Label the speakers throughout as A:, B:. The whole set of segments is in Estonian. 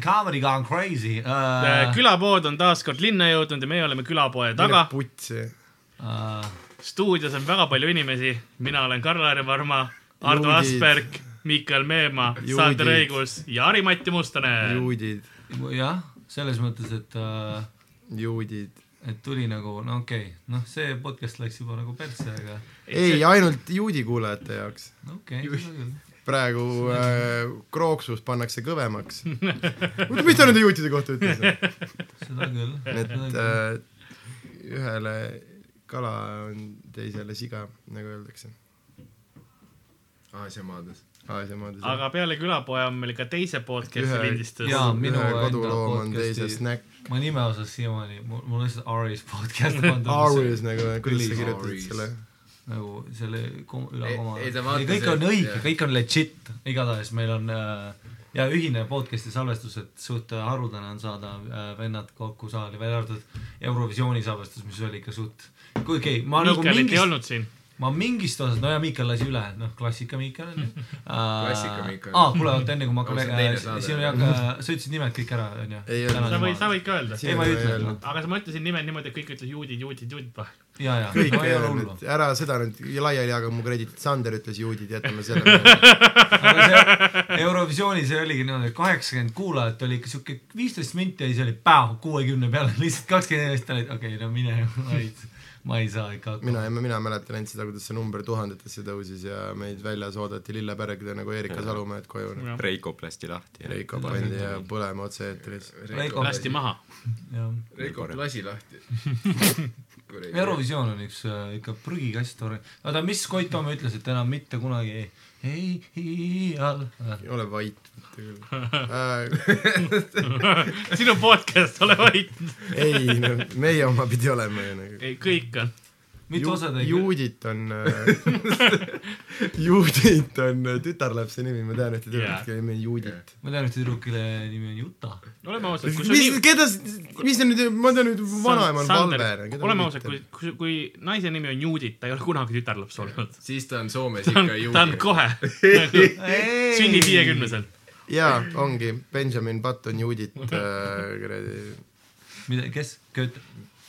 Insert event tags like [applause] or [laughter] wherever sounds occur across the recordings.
A: Comedy gone crazy
B: Äh,
A: uh, .
C: Äh, külapood on taas kord linna jõudnud ja meie oleme külapoe taga .
B: putsi .
A: Uh,
C: stuudios on väga palju inimesi , mina olen Karl-Aar Varma , Ardo
B: Juudid.
C: Asperg , Miikal Meemaa ,
B: Juudid.
C: Sander Õigus ja Harimati Mustonen .
B: juudid ,
A: jah , selles mõttes , et uh, ,
B: juudid .
A: et tuli nagu , no okei okay. , noh , see podcast läks juba nagu persse , aga
B: ei , ainult juudi kuulajate jaoks .
A: no okei okay, .
B: praegu äh, krooksus pannakse kõvemaks .
C: [laughs]
B: mis ta nende juutide kohta ütles ?
A: seda küll , [laughs] seda
B: [laughs] et
A: küll .
B: äh, ühele kala on teisele siga , nagu öeldakse .
D: Aasia maades .
B: Aasia maades .
C: aga peale külapoe on meil ka teise podcast'i
B: Ühe-
C: lindistus .
A: jaa. minu
B: ühe
A: enda
B: koduloom on
A: podcasti-
B: teise snäkk ,
A: ma nime osas siiamaani , mul , mul on lihtsalt Aris
B: [laughs]
A: podcast pandud .
B: Aries nagu , kuidas sa
A: Release
B: kirjutad
D: Aries.
B: selle ?
A: nagu selle kom- üle
D: Ei-
A: koma .
D: ei, ta vaatas,
A: kõik on
D: et-
A: õige
D: jah. ,
A: kõik on legit , igatahes meil on äh, ja ühine podcast'i salvestus , et suht haruldane on saada äh, vennad kokku saali , välja arvatud Eurovisiooni salvestus , mis oli ikka suht , kui okei okay, , ma nagu
C: Miikalit ei
A: mingist ,
C: olnud siin .
A: ma mingist osast , no ja Miikal lasi üle , noh , klassika Miikal
D: [laughs]
A: on ju .
D: Klassika Miikal.
A: aa , kuule , oota , enne kui ma hakkan
D: Ausalt, teine
A: rääkima ,
D: saade.
A: sinu jaoks , sa ütlesid nimed kõik ära , on ju
B: Ei öelnud. .
C: sa võid , sa võid ka öelda .
A: ei , ma ei ütle ,
C: aga sa- ma ütlesin nime niimoodi , et kõik ütlesid juudid , juudid , juudid .
A: ja , ja .
B: kõik ei ole hullu . ära seda nüüd laiali jaga , mu krediit , Sander ütles juudid , jätame selle meelde .
A: aga see Eurovisioonis oligi niimoodi , et kaheksakümmend kuulajat oli ikka siuke viisteist minti ja siis oli päev kuuekümne peale [laughs] lihtsalt kakskümmend inimest olid , okei okay, , no mine , ma ei , ma ei saa ikka hakkama .
B: mina , mina mäletan ainult seda , kuidas see number tuhandetesse tõusis ja meid väljas oodati lillepärekida nagu Erika Salumäed koju .
E: Reiko plasti lahti .
B: Reiko pandi ja põlema otse-eetris .
A: Reiko
C: lasti maha . [laughs]
D: Reiko lasi lahti [laughs] kuradi .
A: Eurovisioon on üks äh, ikka prügikast , oota , mis Koit Toome ütles , et enam mitte kunagi ei , ei iial .
B: ole vait . Äh,
C: sinu podcast , ole vait .
B: ei no, , meie oma pidi olema ju nagu .
C: ei , kõik on .
A: mitu osa ta ikka ,
B: juudit on äh, , [laughs] juudit on äh, tütarlapse nimi , ma tean , et te
C: Jaa.
B: teate , kelle nimi on juudit .
A: ma tean ühte tüdruku , kelle nimi on Juta .
C: oleme ausad , kui sul
B: mis ,
C: nii .
B: keda , mis ta nüüd , ma tean nüüd , vanaema on Valver .
C: oleme ausad , kui , kui , kui naise nimi on Juudit , ta ei ole kunagi tütarlaps olnud .
D: siis ta on Soomes
C: ta on
D: ikka ,
C: ta on
D: juudi .
C: kohe . sünnib . viiekümneselt .
B: jaa , ongi Benjamin Button juudit äh, kuradi .
A: mida , kes , Goethe ?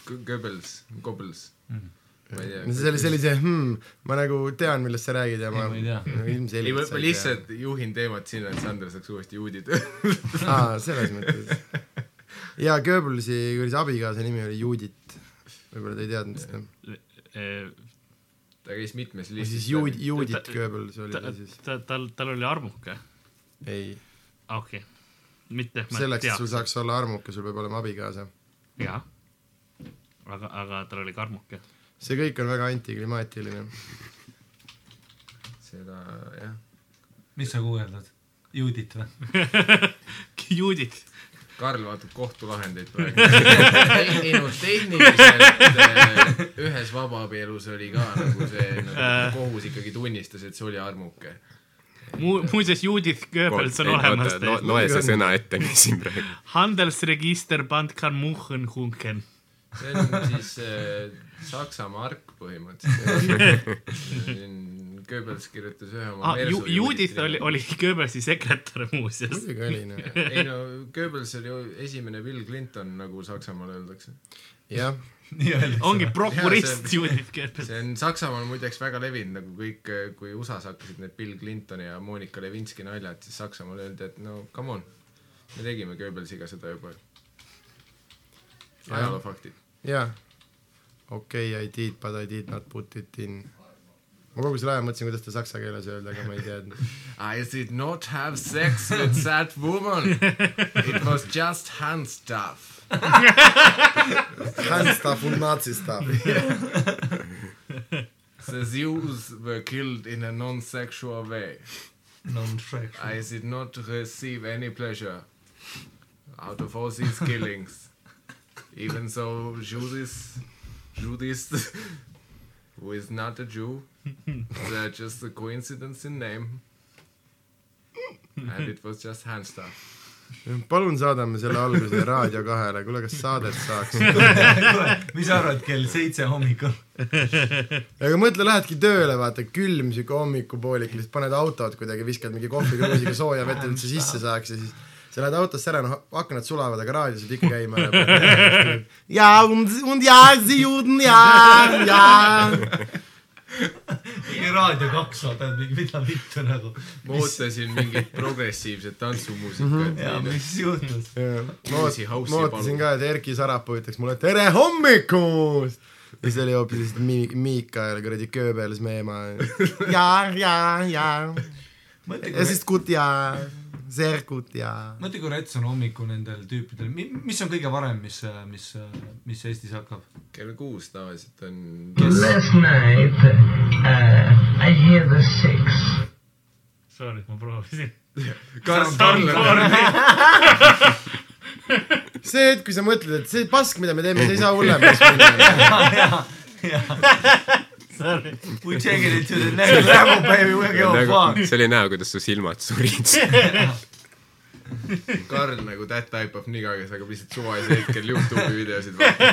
D: Goebbels , Goebbels . ma ei tea .
B: see oli , see oli see hmm, , ma nagu tean , millest sa räägid ja ma,
A: Ei, ma ei tea.
B: no
D: ei ,
B: ilmselgelt
D: ma lihtsalt juhin teemat sinna , et Sander saaks uuesti juudid .
B: tea . aa , selles mõttes . jaa , Goebbelsi kuradi abikaasa nimi oli Judit . võib-olla te ei teadnud seda .
D: [laughs] ta käis mitmes
B: või
D: listis
B: siis . Juud- , Judit
C: ta-
B: Goebbels oli ta siis .
C: ta , tal , tal oli armuke .
B: ei ,
C: okei okay. . mitte , ma ei
B: selleks ,
C: tea
B: et sul . saaks olla armuke , sul peab olema abikaasa .
C: jaa . aga , aga tal oli ka armuke .
B: see kõik on väga antiklimaatiline .
D: seda , jah .
A: mis sa guugeldad ? Judit või ? [laughs]
C: Juudit .
D: Karl vaatab kohtulahendeid [laughs] praegu . ei no tehniliselt äh, ühes vabaabielus oli ka nagu see
C: Äh.
D: nagu, , kohus ikkagi tunnistas , et see oli armuke .
C: mu- , muuseas Judith Goebbels on olemas
E: no, .
C: teil .
E: loe see sõna ette , mis siin praegu .
C: Handelsregister Band kann Muchen Hunken .
D: see on siis äh, Saksa mark põhimõtteliselt . Goebbels kirjutas ühe oma
C: ah, . Ju- , Judith oli ,. oli Goebbelsi sekretär muuseas .
B: muidugi oli , noh .
D: ei no Goebbels oli ju esimene Bill Clinton , nagu Saksamaal öeldakse .
B: jah ,
A: nii öeldakse .
C: ongi
D: Jaa,
C: prokurist
D: see-
C: Judith Goebbels .
D: see on Saksamaal muideks väga levinud , nagu kõik , kui USA-s hakkasid need Bill Clintoni ja Monika Lewinsky naljad , siis Saksamaal öeldi , et no come on , me tegime Goebbelsiga seda juba . ajaloofaktid .
B: jaa . okei okay, , I did but I did not put it in . ma kogu selle aja mõtlesin , kuidas ta saksa keeles öelda , aga ma ei teadnud .
D: I did not have sex with that woman . It was just hand stuff .
B: Hand stuff und Nazi stuff .
D: The Jews were killed in a non-sexual way .
A: [laughs] non-traction .
D: I did not receive any pleasure out of all these killings. Even though Judas, Judas, who is not a Jew, they're just a coincidence in name. And it was just hand stuff.
B: palun saadame selle alguse Raadio kahele , kuule , kas saadet saaks ?
A: mis sa arvad , kell seitse hommikul ?
B: aga mõtle , lähedki tööle , vaata , külm siuke hommikupoolik , lihtsalt paned autot kuidagi , viskad mingi kohvikrõõsiga sooja vett , et sa sisse saaks ja siis sa lähed autosse ära , noh , aknad sulavad , aga raadio saad ikka käima . ja , und ja , sie juden ja , ja .
A: mingi Raadio kaks vaatad , mida vittu nagu .
D: ma ootasin mingit progressiivset
A: ja
D: tantsumuusikat .
A: mis juhtus ?
B: ma
D: Uusi house'i
B: oot- ma ootasin
D: palun.
B: ka , et Erki Sarapuu ütleks mulle tere hommikust . ja see oli hoopis lihtsalt Mi- , Miikael kuradi Goebbels meie [laughs] ema . ja , ja , ja .
A: mõtle ,
B: ja
A: kui
B: siis , gut ja , sehr gut ja .
A: mõtle , kui rets on hommikul nendel tüüpidel , mis on kõige varem , mis , mis , mis Eestis hakkab ?
D: kell kuus tavaliselt on .
F: Last night, uh, I hear the six.
C: Sorry , ma proovisin .
B: see hetk , kui sa mõtled , et see pask , mida me teeme , see ei saa hullemaks minna .
C: Sorry .
A: We take it to the next level baby , we go far .
E: see oli näha , kuidas su silmad surid .
D: Karl nagu that type of nigga , kes hakkab lihtsalt suvalisel hetkel Youtube'i videosid vaatama .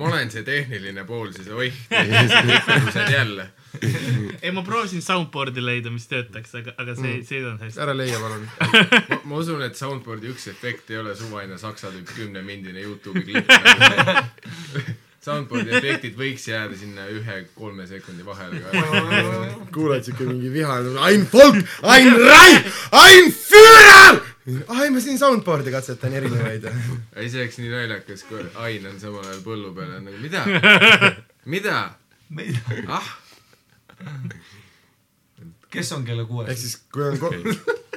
D: [laughs] ma olen see tehniline pool , siis oih , see on jälle .
C: ei , ma proovisin soundboard'i leida , mis töötaks , aga , aga see , see ei olnud hästi .
B: [laughs] ära leia palun .
D: ma ma usun , et soundboard'i üks efekt ei ole suvaline saksa tüüp kümnemindine Youtube'i klipp . Soundboard'i efektid võiks jääda sinna ühe-kolme sekundi vahele .
B: kuuled siuke mingi vihane , ein Volk , [laughs] ein Reich , ein Führer . ai , ma siin soundboard'i katsetan [laughs] erinevaid .
D: ei , see oleks nii naljakas , kui Ain on samal ajal põllu peal ja on nagu mida , mida , ah ,
A: kes on kella
B: ehk
A: kuues ?
B: siis , kui on ,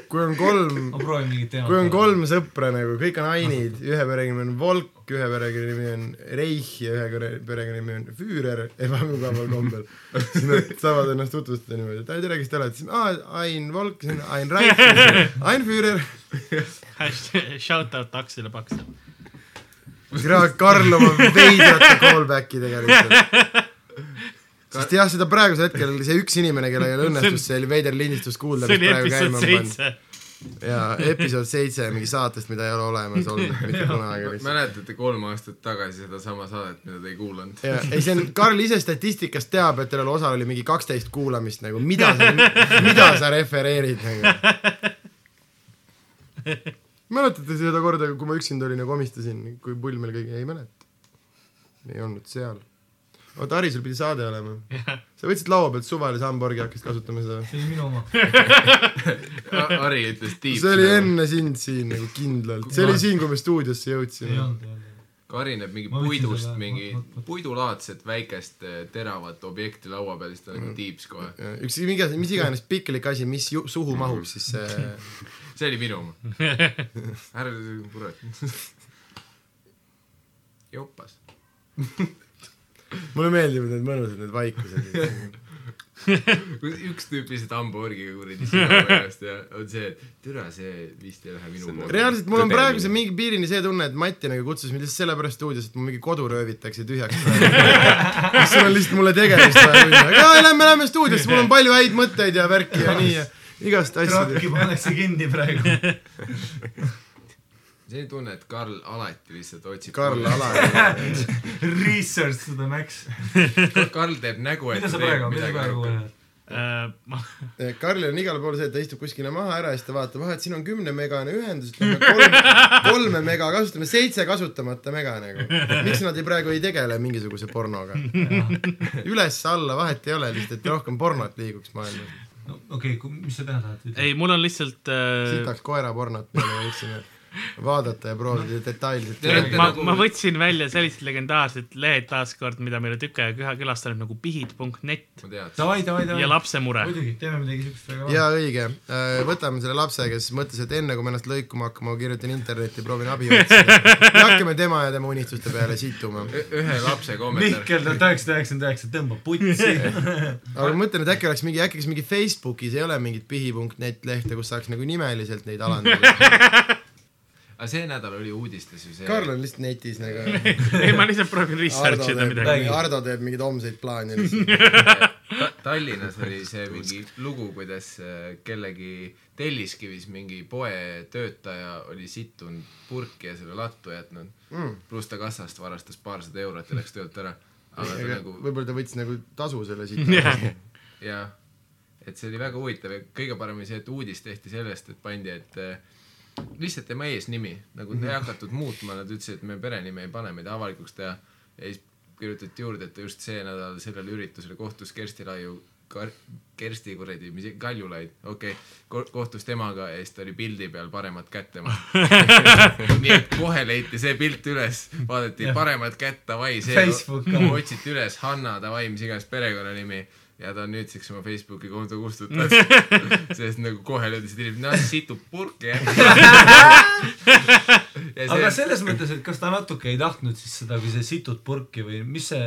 B: kui on kolm
A: ma proovin mingit teemat .
B: kui on . kolm sõpra nagu , kõik on ainid , ühe perekonnanimi on Volk , ühe perekonnanimi on Reich ja ühe kõre- perekonnanimi on Füürer , ebamugaval kombel . siis nad saavad ennast tutvustada niimoodi , et ai tere , kes te olete , siis aa , Ain Volk , siis on Ain Reich , Ain Füürer .
C: Hashtag shout out Aksele Paksele .
B: Karl oma veidrate callback'i tegelikult . sest jah , seda praegusel hetkel see üks inimene , kellel õnnestus see veider lindistus kuulda ,
C: see
B: mis
C: oli
B: praegu
C: episood
B: käima on pannud .
C: seitse .
B: jaa , episood seitse mingi saatest , mida ei ole olemas olnud
C: [laughs]
B: mitte kunagi .
D: mäletate kolm aastat tagasi sedasama saadet , mida te ei
B: [laughs]
D: kuulanud ?
B: ja ei , see on , Karl ise statistikast teab , et sellel osal oli mingi kaksteist kuulamist nagu , mida sa , mida sa refereerid nagu . mäletate seda korda , kui ma üksinda olin ja komistasin , kui pull meil kõigi , ei mäleta . ei olnud seal . oota , Harri , sul pidi saade olema . sa võtsid laua pealt suvalise hamburgi ja hakkasid kasutama seda .
A: see oli minu oma .
D: Harri ütles tiib .
B: see oli . enne sind siin nagu kindlalt , see oli siin , kui me stuudiosse
A: ei
B: jõudsime .
A: olnud , ei olnud .
D: karineb mingi
A: Ma võtsin
D: puidust
A: selle-
D: mingi
A: oot, oot, oot.
D: puidulaadset väikest eh, teravat objekti laua peal , siis ta
B: Mm.
D: nagu tiibs kohe .
B: üks , mis iganes piklik asi , mis ju, suhu mahub , siis
A: [laughs]
B: see
D: see oli
B: [laughs]
D: minu oma . ära kurat . jopas .
B: mulle meeldivad need mõnusad , need vaikused .
D: üks tüüp lihtsalt hamburgiga kuradi sina pärast ja on see , et türa , see vist ei lähe minu
E: See on
D: poole .
B: reaalselt mul on
E: Tõde
B: praeguse
E: mingi.
B: mingi piirini see tunne , et Mati nagu kutsus mind lihtsalt sellepärast stuudiosse , et mu mingi kodu röövitakse tühjaks . sul on lihtsalt mulle tegemist vaja minna , aga lähme , lähme stuudiosse , mul on palju häid mõtteid ja värki ja nii ja igast asju .
A: trakki pannakse kinni praegu .
D: selline tunne , et Karl alati lihtsalt otsib .
B: Karl . Alar ,
A: Research to the max .
D: [laughs] Karl teeb nägu , et
A: mida sa praegu , mida sa praegu
D: rohkem .
A: kuuled ?
C: Äh, ma ,
B: Eh, Karlil on igal pool see , et ta istub kuskile maha ära ja siis ta vaatab , ah , et siin on kümne megane ühendus , et me kolme , kolme mega kasutame , seitse kasutamata mega nagu . miks nad ei praegu ei tegele mingisuguse pornoga ? üles-alla vahet ei ole , lihtsalt et rohkem pornot liiguks maailmas .
A: no okei okay, , mis sa teha tahad ?
C: ei , mul on lihtsalt äh,
B: sitaks koerapornot , mida me võiksime vaadata ja proovida detailselt .
D: Te olete
C: ma
D: nagu- ,
C: ma võtsin välja sellised legendaarsed lehed taaskord , mida meil on tükk aega küla- külastanud nagu pihid.net
D: ma tean .
A: davai , davai , davai .
C: ja lapsemure .
A: muidugi , teeme midagi siukest väga
B: ja õige , võtame selle lapse , kes mõtles , et enne kui ma ennast lõikuma hakkan , ma kirjutan internetti , proovin abi otsida . me hakkame tema ja tema unistuste peale situma .
D: ühe lapse kommentaar .
A: Mihkel tuhat üheksasada üheksakümmend üheksa tõmbab [laughs] putsi .
B: aga ma mõtlen , et äkki oleks mingi , äkki oleks mingi Facebookis ei ole mingit pihi.net lehte , kus saaks nagu nimeliselt neid alandada .
D: aga see nädal oli uudistes ju see .
B: Karl on lihtsalt netis nagu .
C: [laughs] ei , ma lihtsalt proovin
B: Ardo
C: research ida
B: teeb,
C: midagi .
B: Ardo teeb mingeid homseid plaane lihtsalt .
D: Ta- Tallinnas oli see mingi lugu , kuidas äh, kellegi Telliskivis mingi poetöötaja oli sittunud purki ja selle lattu jätnud mm. . pluss ta kassast varastas paarsada eurot ja läks töölt ära . aga ta nagu
B: võib-olla ta võttis nagu tasu selle siit .
D: jah , et see oli väga huvitav ja kõige parem oli see , et uudis tehti sellest , et pandi , et äh, lihtsalt tema eesnimi , nagu ei hakatud muutma , nad ütlesid , et me perenime ei pane , me ei taha avalikuks teha . ja siis kirjutati juurde , et ta just see nädal sellel üritusel kohtus Kersti Laiu , Kersti kuradi , mis , Kaljulaid , okei okay. , kohtus temaga ja siis ta oli pildi peal paremat kätt tema . nii et kohe leiti see pilt üles , vaadati paremat kätt , davai , see
A: Facebook
D: [laughs]
A: ka.
D: otsiti üles Hanna , davai , mis iganes perekonnanimi ja ta on nüüdseks oma Facebooki konto kustutanud , sest nagu kohe löödasid inimesed , noh , situb purki jah .
A: aga selles mõttes , et kas ta natuke ei tahtnud siis seda , kui see situd purki või mis see ,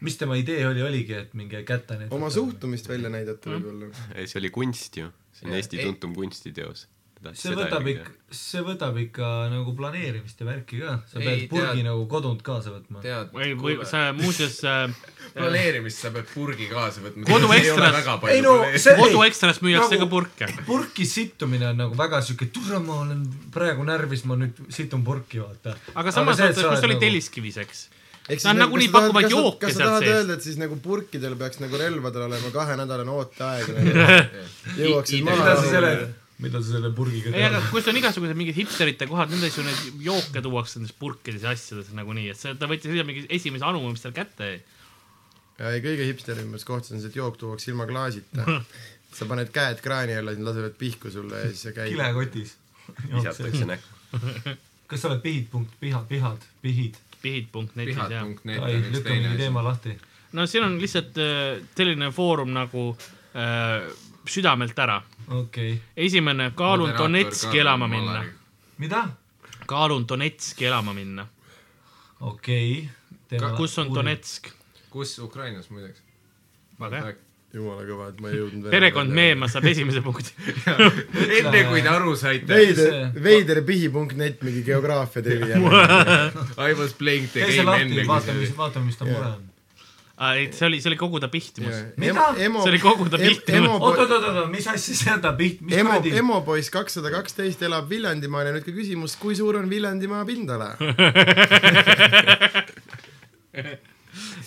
A: mis tema idee oli , oligi , et minge kätte näidata ?
B: oma . suhtumist välja näidata võib-olla .
E: ei , see oli kunst ju . see on
D: Jah.
E: Eesti
D: Ei-
E: tuntum kunstiteos .
A: see võtab ikka , see võtab ikka nagu planeerimist ja värki ka , sa
D: Ei,
A: pead purgi
D: tead-
A: nagu kodunt kaasa võtma .
D: tead ,
C: või , või sa muuseas äh,
D: planeerimist sa pead purgi kaasa võtma .
C: Kodu ekstras-
A: ei no see ,
C: kodu ekstras müüakse
A: Nagu-
C: ka purke .
A: purki sittumine on nagu väga siuke , tule , ma olen praegu närvis , ma nüüd situn purki , vaata .
C: aga samas mõttes , kus
A: nagu-
C: oli ? Telliskivis , eks . Nad nagunii pakuvad jooke
B: kas sa
C: sealt
B: tahad
C: seest.
B: öelda , et siis nagu purkidel peaks nagu relvadel olema kahenädalane ooteaeg nagu, ? jõuaksid maha
A: mida sa selle , mida sa selle purgiga
C: ei , aga
A: teed ?
C: kus on igasugused mingid hipsterite kohad , nende asju , neid jooke tuuakse nendes purkides ja asjades nagunii , et see , ta võttis ise mingi esimese anuma , mis tal kätte jäi .
B: ja ei , kõige hipsterimas kohtas on see , et jook tuuakse ilma
A: [laughs]
B: klaasita . sa paned käed kraani alla , siis nad lasevad pihku sulle ja siis sa käid .
A: kilekotis .
D: [laughs]
E: visatakse näkku .
A: kas sa oled pihid punkt , piha , pihad , pihid ?
C: pihid.netis jah .
D: pihad.net
A: ai
D: on , üks
A: lükka
D: teine
A: mingi
D: asi .
A: teema lahti .
C: no siin on lihtsalt äh, selline foorum nagu äh, südamelt ära .
A: okei okay. .
C: esimene , kaalun Donetski elama minna .
A: mida ?
C: kaalun Donetski elama minna .
A: okei okay.
C: kus on ? Donetsk ?
D: kus Ukrainas muideks ?
C: Väga hea.
B: jumala kõva , et ma ei jõudnud .
C: perekond . Meemas saab esimese punkti . [laughs]
D: enne kui te aru saite ,
B: veider , veiderpihi.net mingi geograafia trivi jälle .
D: I was playing the
A: tee see
D: game
A: lahti ,
D: enne kui
A: vaata ,
D: see oli
A: mis ,. vaatame , mis ta mure on .
C: ei , see oli , see oli koguda pihtimus .
A: Mida?
C: See oli kogu ta pilt.
A: oot , oot , oot , oot , mis asja see on , ta piht , mis
B: emo ,
A: kuradi ?
B: emopoiss kakssada kaksteist elab Viljandimaal ja nüüd ka küsimus , kui suur on Viljandimaa pindala ?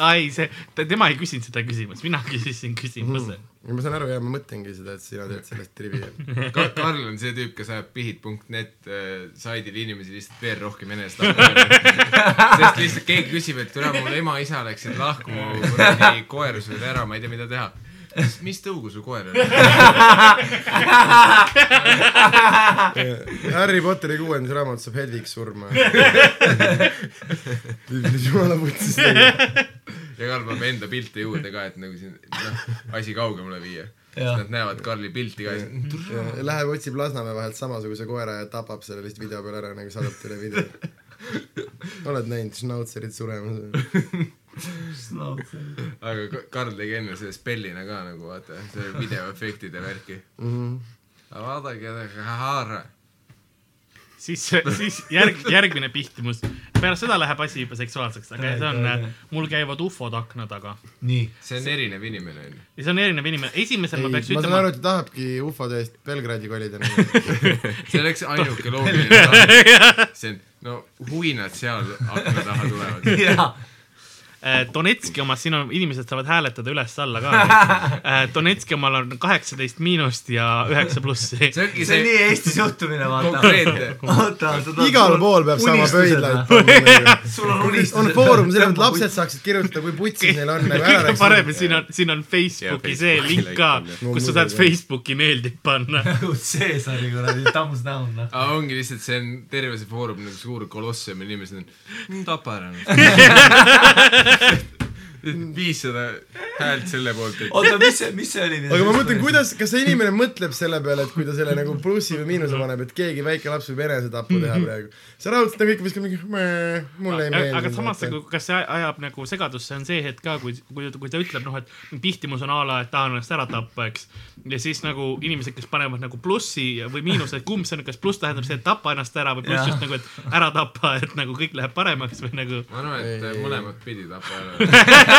C: aa ei , see , tema ei küsinud seda küsimust , mina küsisin küsimuse .
B: ma saan aru ja ma mõtlengi seda , et sina teed sellest trivi .
A: [laughs]
D: Ka- Karl on see tüüp , kes ajab pihid.net äh, saidil inimesi lihtsalt veel rohkem
A: [laughs]
D: enese taha . sest lihtsalt keegi küsib , et kuule , mul ema-isa läksid lahku , mu kuradi koer suri ära , ma ei tea , mida teha . mis , mis tõugu su koer on ?
B: Harry Potteri kuuendas raamatus saab Hedvig
A: [laughs]
B: surma . jumala putsis tegi .
D: ja Karl paneb enda pilte juurde ka , et nagu siin , noh , asi kaugemale viia .
A: Jah. Mhm.
D: Nad näevad Karli pilti ka ja siis ,
B: Äh, Läheb otsib Lasnamäe vahelt samasuguse koera ja tapab selle lihtsalt video peal ära , nagu saadab teile [laughs] video . oled näinud šnautserit suremas või ?
D: aga Ka- Karl tegi enne selle spellina ka nagu vaata , see videoefektide värki .
A: Mhm.
D: aga vaadake , Haara .
C: siis ,
B: [laughs]
C: siis järg , järgmine pihtimus . pärast seda läheb asi juba seksuaalseks , aga see on äh, mul käivad ufod akna taga .
A: nii , [laughs]
D: see on erinev inimene onju .
C: ja see on erinev inimene . esimesel
B: ei ,
C: ma
B: ma
C: peaks
B: saan
C: ütlema
B: aru , et ta tahabki ufode eest Belgradi kolida .
D: see oleks
A: [laughs]
D: ainuke loogiline samm . see on , no huinad seal akna taha tulevad .
A: jaa .
C: Äh, Donetski omas , siin on , inimesed saavad hääletada üles-alla
B: [laughs]
C: ka . äh, Donetski omal on kaheksateist miinust ja üheksa plussi .
D: see ongi
A: see on
D: see
A: nii Eesti suhtumine , vaata .
D: konkreetne .
A: oota , sa tahad .
B: [laughs] igal pool peab saama pöidlaid . [laughs] panna .
A: [laughs] sul on unistused .
B: on foorum , selles mõttes , et noh. [laughs] lapsed saaksid kirjutada , kui putsis neil on . nagu
C: kõige
B: [laughs]
C: parem , siin on , siin on Facebooki
E: Jaa,
C: see
E: Facebooki
C: link ka
E: like ,
B: on, jah.
C: kus sa saad Facebooki meeldib panna .
A: nagu Caesari kuradi thumbs down , noh .
D: aga ongi lihtsalt , see on terve see foorum nagu suur kolossium ja inimesed on , tapa ära . [laughs] viissada häält selle poolt , et
A: oota , mis see , mis see oli ?
B: aga ma mõtlen ,. kuidas , kas see inimene mõtleb selle peale , et kui ta selle nagu plussi või miinuse paneb , et keegi väike laps võib enesetapu [laughs] teha praegu . see raudselt nagu ikka viskab mingi , mulle ei meeldi .
C: aga samas , kas see ajab nagu segadusse , on see hetk ka , kui , kui , kui ta ütleb , noh , et pihtimus on a la , et tahan ennast ära tappa , eks . ja siis nagu inimesed , kes panevad nagu plussi või miinuse , et kumb see on , kas pluss tähendab see , et tapa ennast ära või
A: Jaa.
C: pluss just nagu , et ära tapa , et nagu kõik läheb paremaks või nagu
D: ma arvan , et mõlemad pidi tapa ära .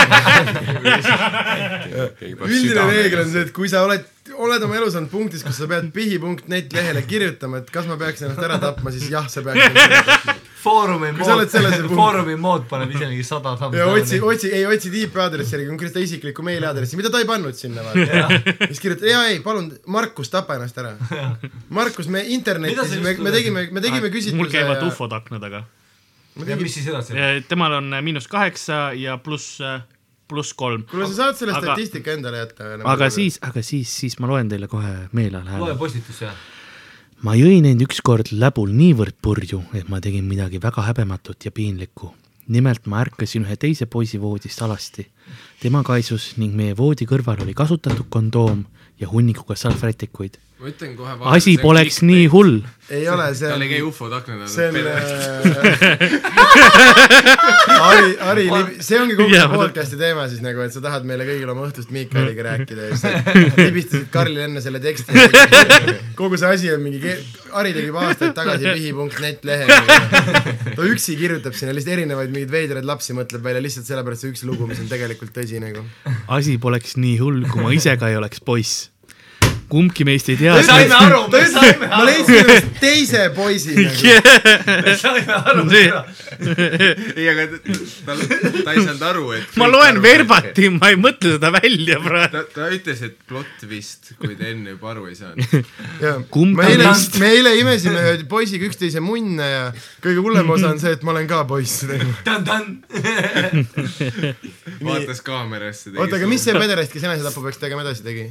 B: üldine reegel on see , et kui sa oled , oled oma elus olnud punktis ,
C: [laughs]
B: kus sa pead pihi.net lehele kirjutama , et kas ma peaks ennast ära tapma , siis jah , sa peaksid .
A: Foorumi
B: Kui sa oled selles
A: mood ,
B: puhul-
A: Foorumi mood paneb ise mingi sada tammi
B: ja otsi , otsi , ei otsi tiipaadressi järgi konkreetselt isiklikku meiliaadressi , mida ta ei pannud sinna vaata . siis kirjutad , jaa ei , palun , Markus , tapa ennast ära . Markus , me
A: Mida sa
B: internetis ,
A: just
B: me , me
A: lugesid?
B: tegime , me tegime küsitluse .
C: mul käivad ufod akna taga .
A: ja mis siis edasi ?
C: temal on äh, miinus kaheksa ja pluss , pluss kolm .
B: kuule , sa saad selle
C: Aga-
B: statistika endale jätta . nagu-
C: aga . siis , aga siis , siis ma loen teile kohe meelelahele .
A: loe postitusse .
C: ma jõin end ükskord läbul niivõrd purju , et ma tegin midagi väga häbematut ja piinlikku . nimelt ma ärkasin ühe teise poisi voodist alasti . tema kaisus ning meie voodi kõrval oli kasutatud kondoom ja hunnikuga salvrätikuid .
D: ma ütlen kohe .
C: asi poleks nii . hull .
B: ei ole , see
D: tal ei käi
B: on ,
D: ufod akna
B: see
D: taga
B: on . [laughs] Ari , Ari , see ongi kogu
C: Jaa,
B: see
C: ma-
B: podcast'i teema siis nagu , et sa tahad meile kõigile oma õhtust Miikaliga rääkida
C: [laughs]
B: ja siis sa libistasid Karlile enne selle teksti . [laughs] kogu see asi on mingi , Ari tegi juba aastaid tagasi pihi.net lehe . ta üksi kirjutab sinna lihtsalt erinevaid mingeid veidraid lapsi mõtleb välja lihtsalt sellepärast see üks lugu , mis on tegelikult tõsi nagu .
C: asi poleks nii hull , kui ma ise ka ei oleks poiss . kumbki meist ei tea .
A: saime aru , me saime
B: ma
A: aru ,
B: leidsin ennast teise poisi nagu .
A: me saime aru .
D: [laughs] ei , aga ta , ta ei saanud aru , et .
C: ma loen . verbati , ma ei mõtle seda välja praegu .
D: ta , ta ütles , et plott vist , kuid enne juba aru ei
C: [laughs]
D: saanud .
C: Kumb
B: me eile
C: kannast? ,
B: me eile imesime ühe poisiga üksteise munne ja kõige hullem osa on see , et ma olen ka
C: [laughs]
B: poiss .
D: vaatas kaamerasse .
B: oota , aga mis see pederast , kes enesetapu peaks tegema , edasi tegi ?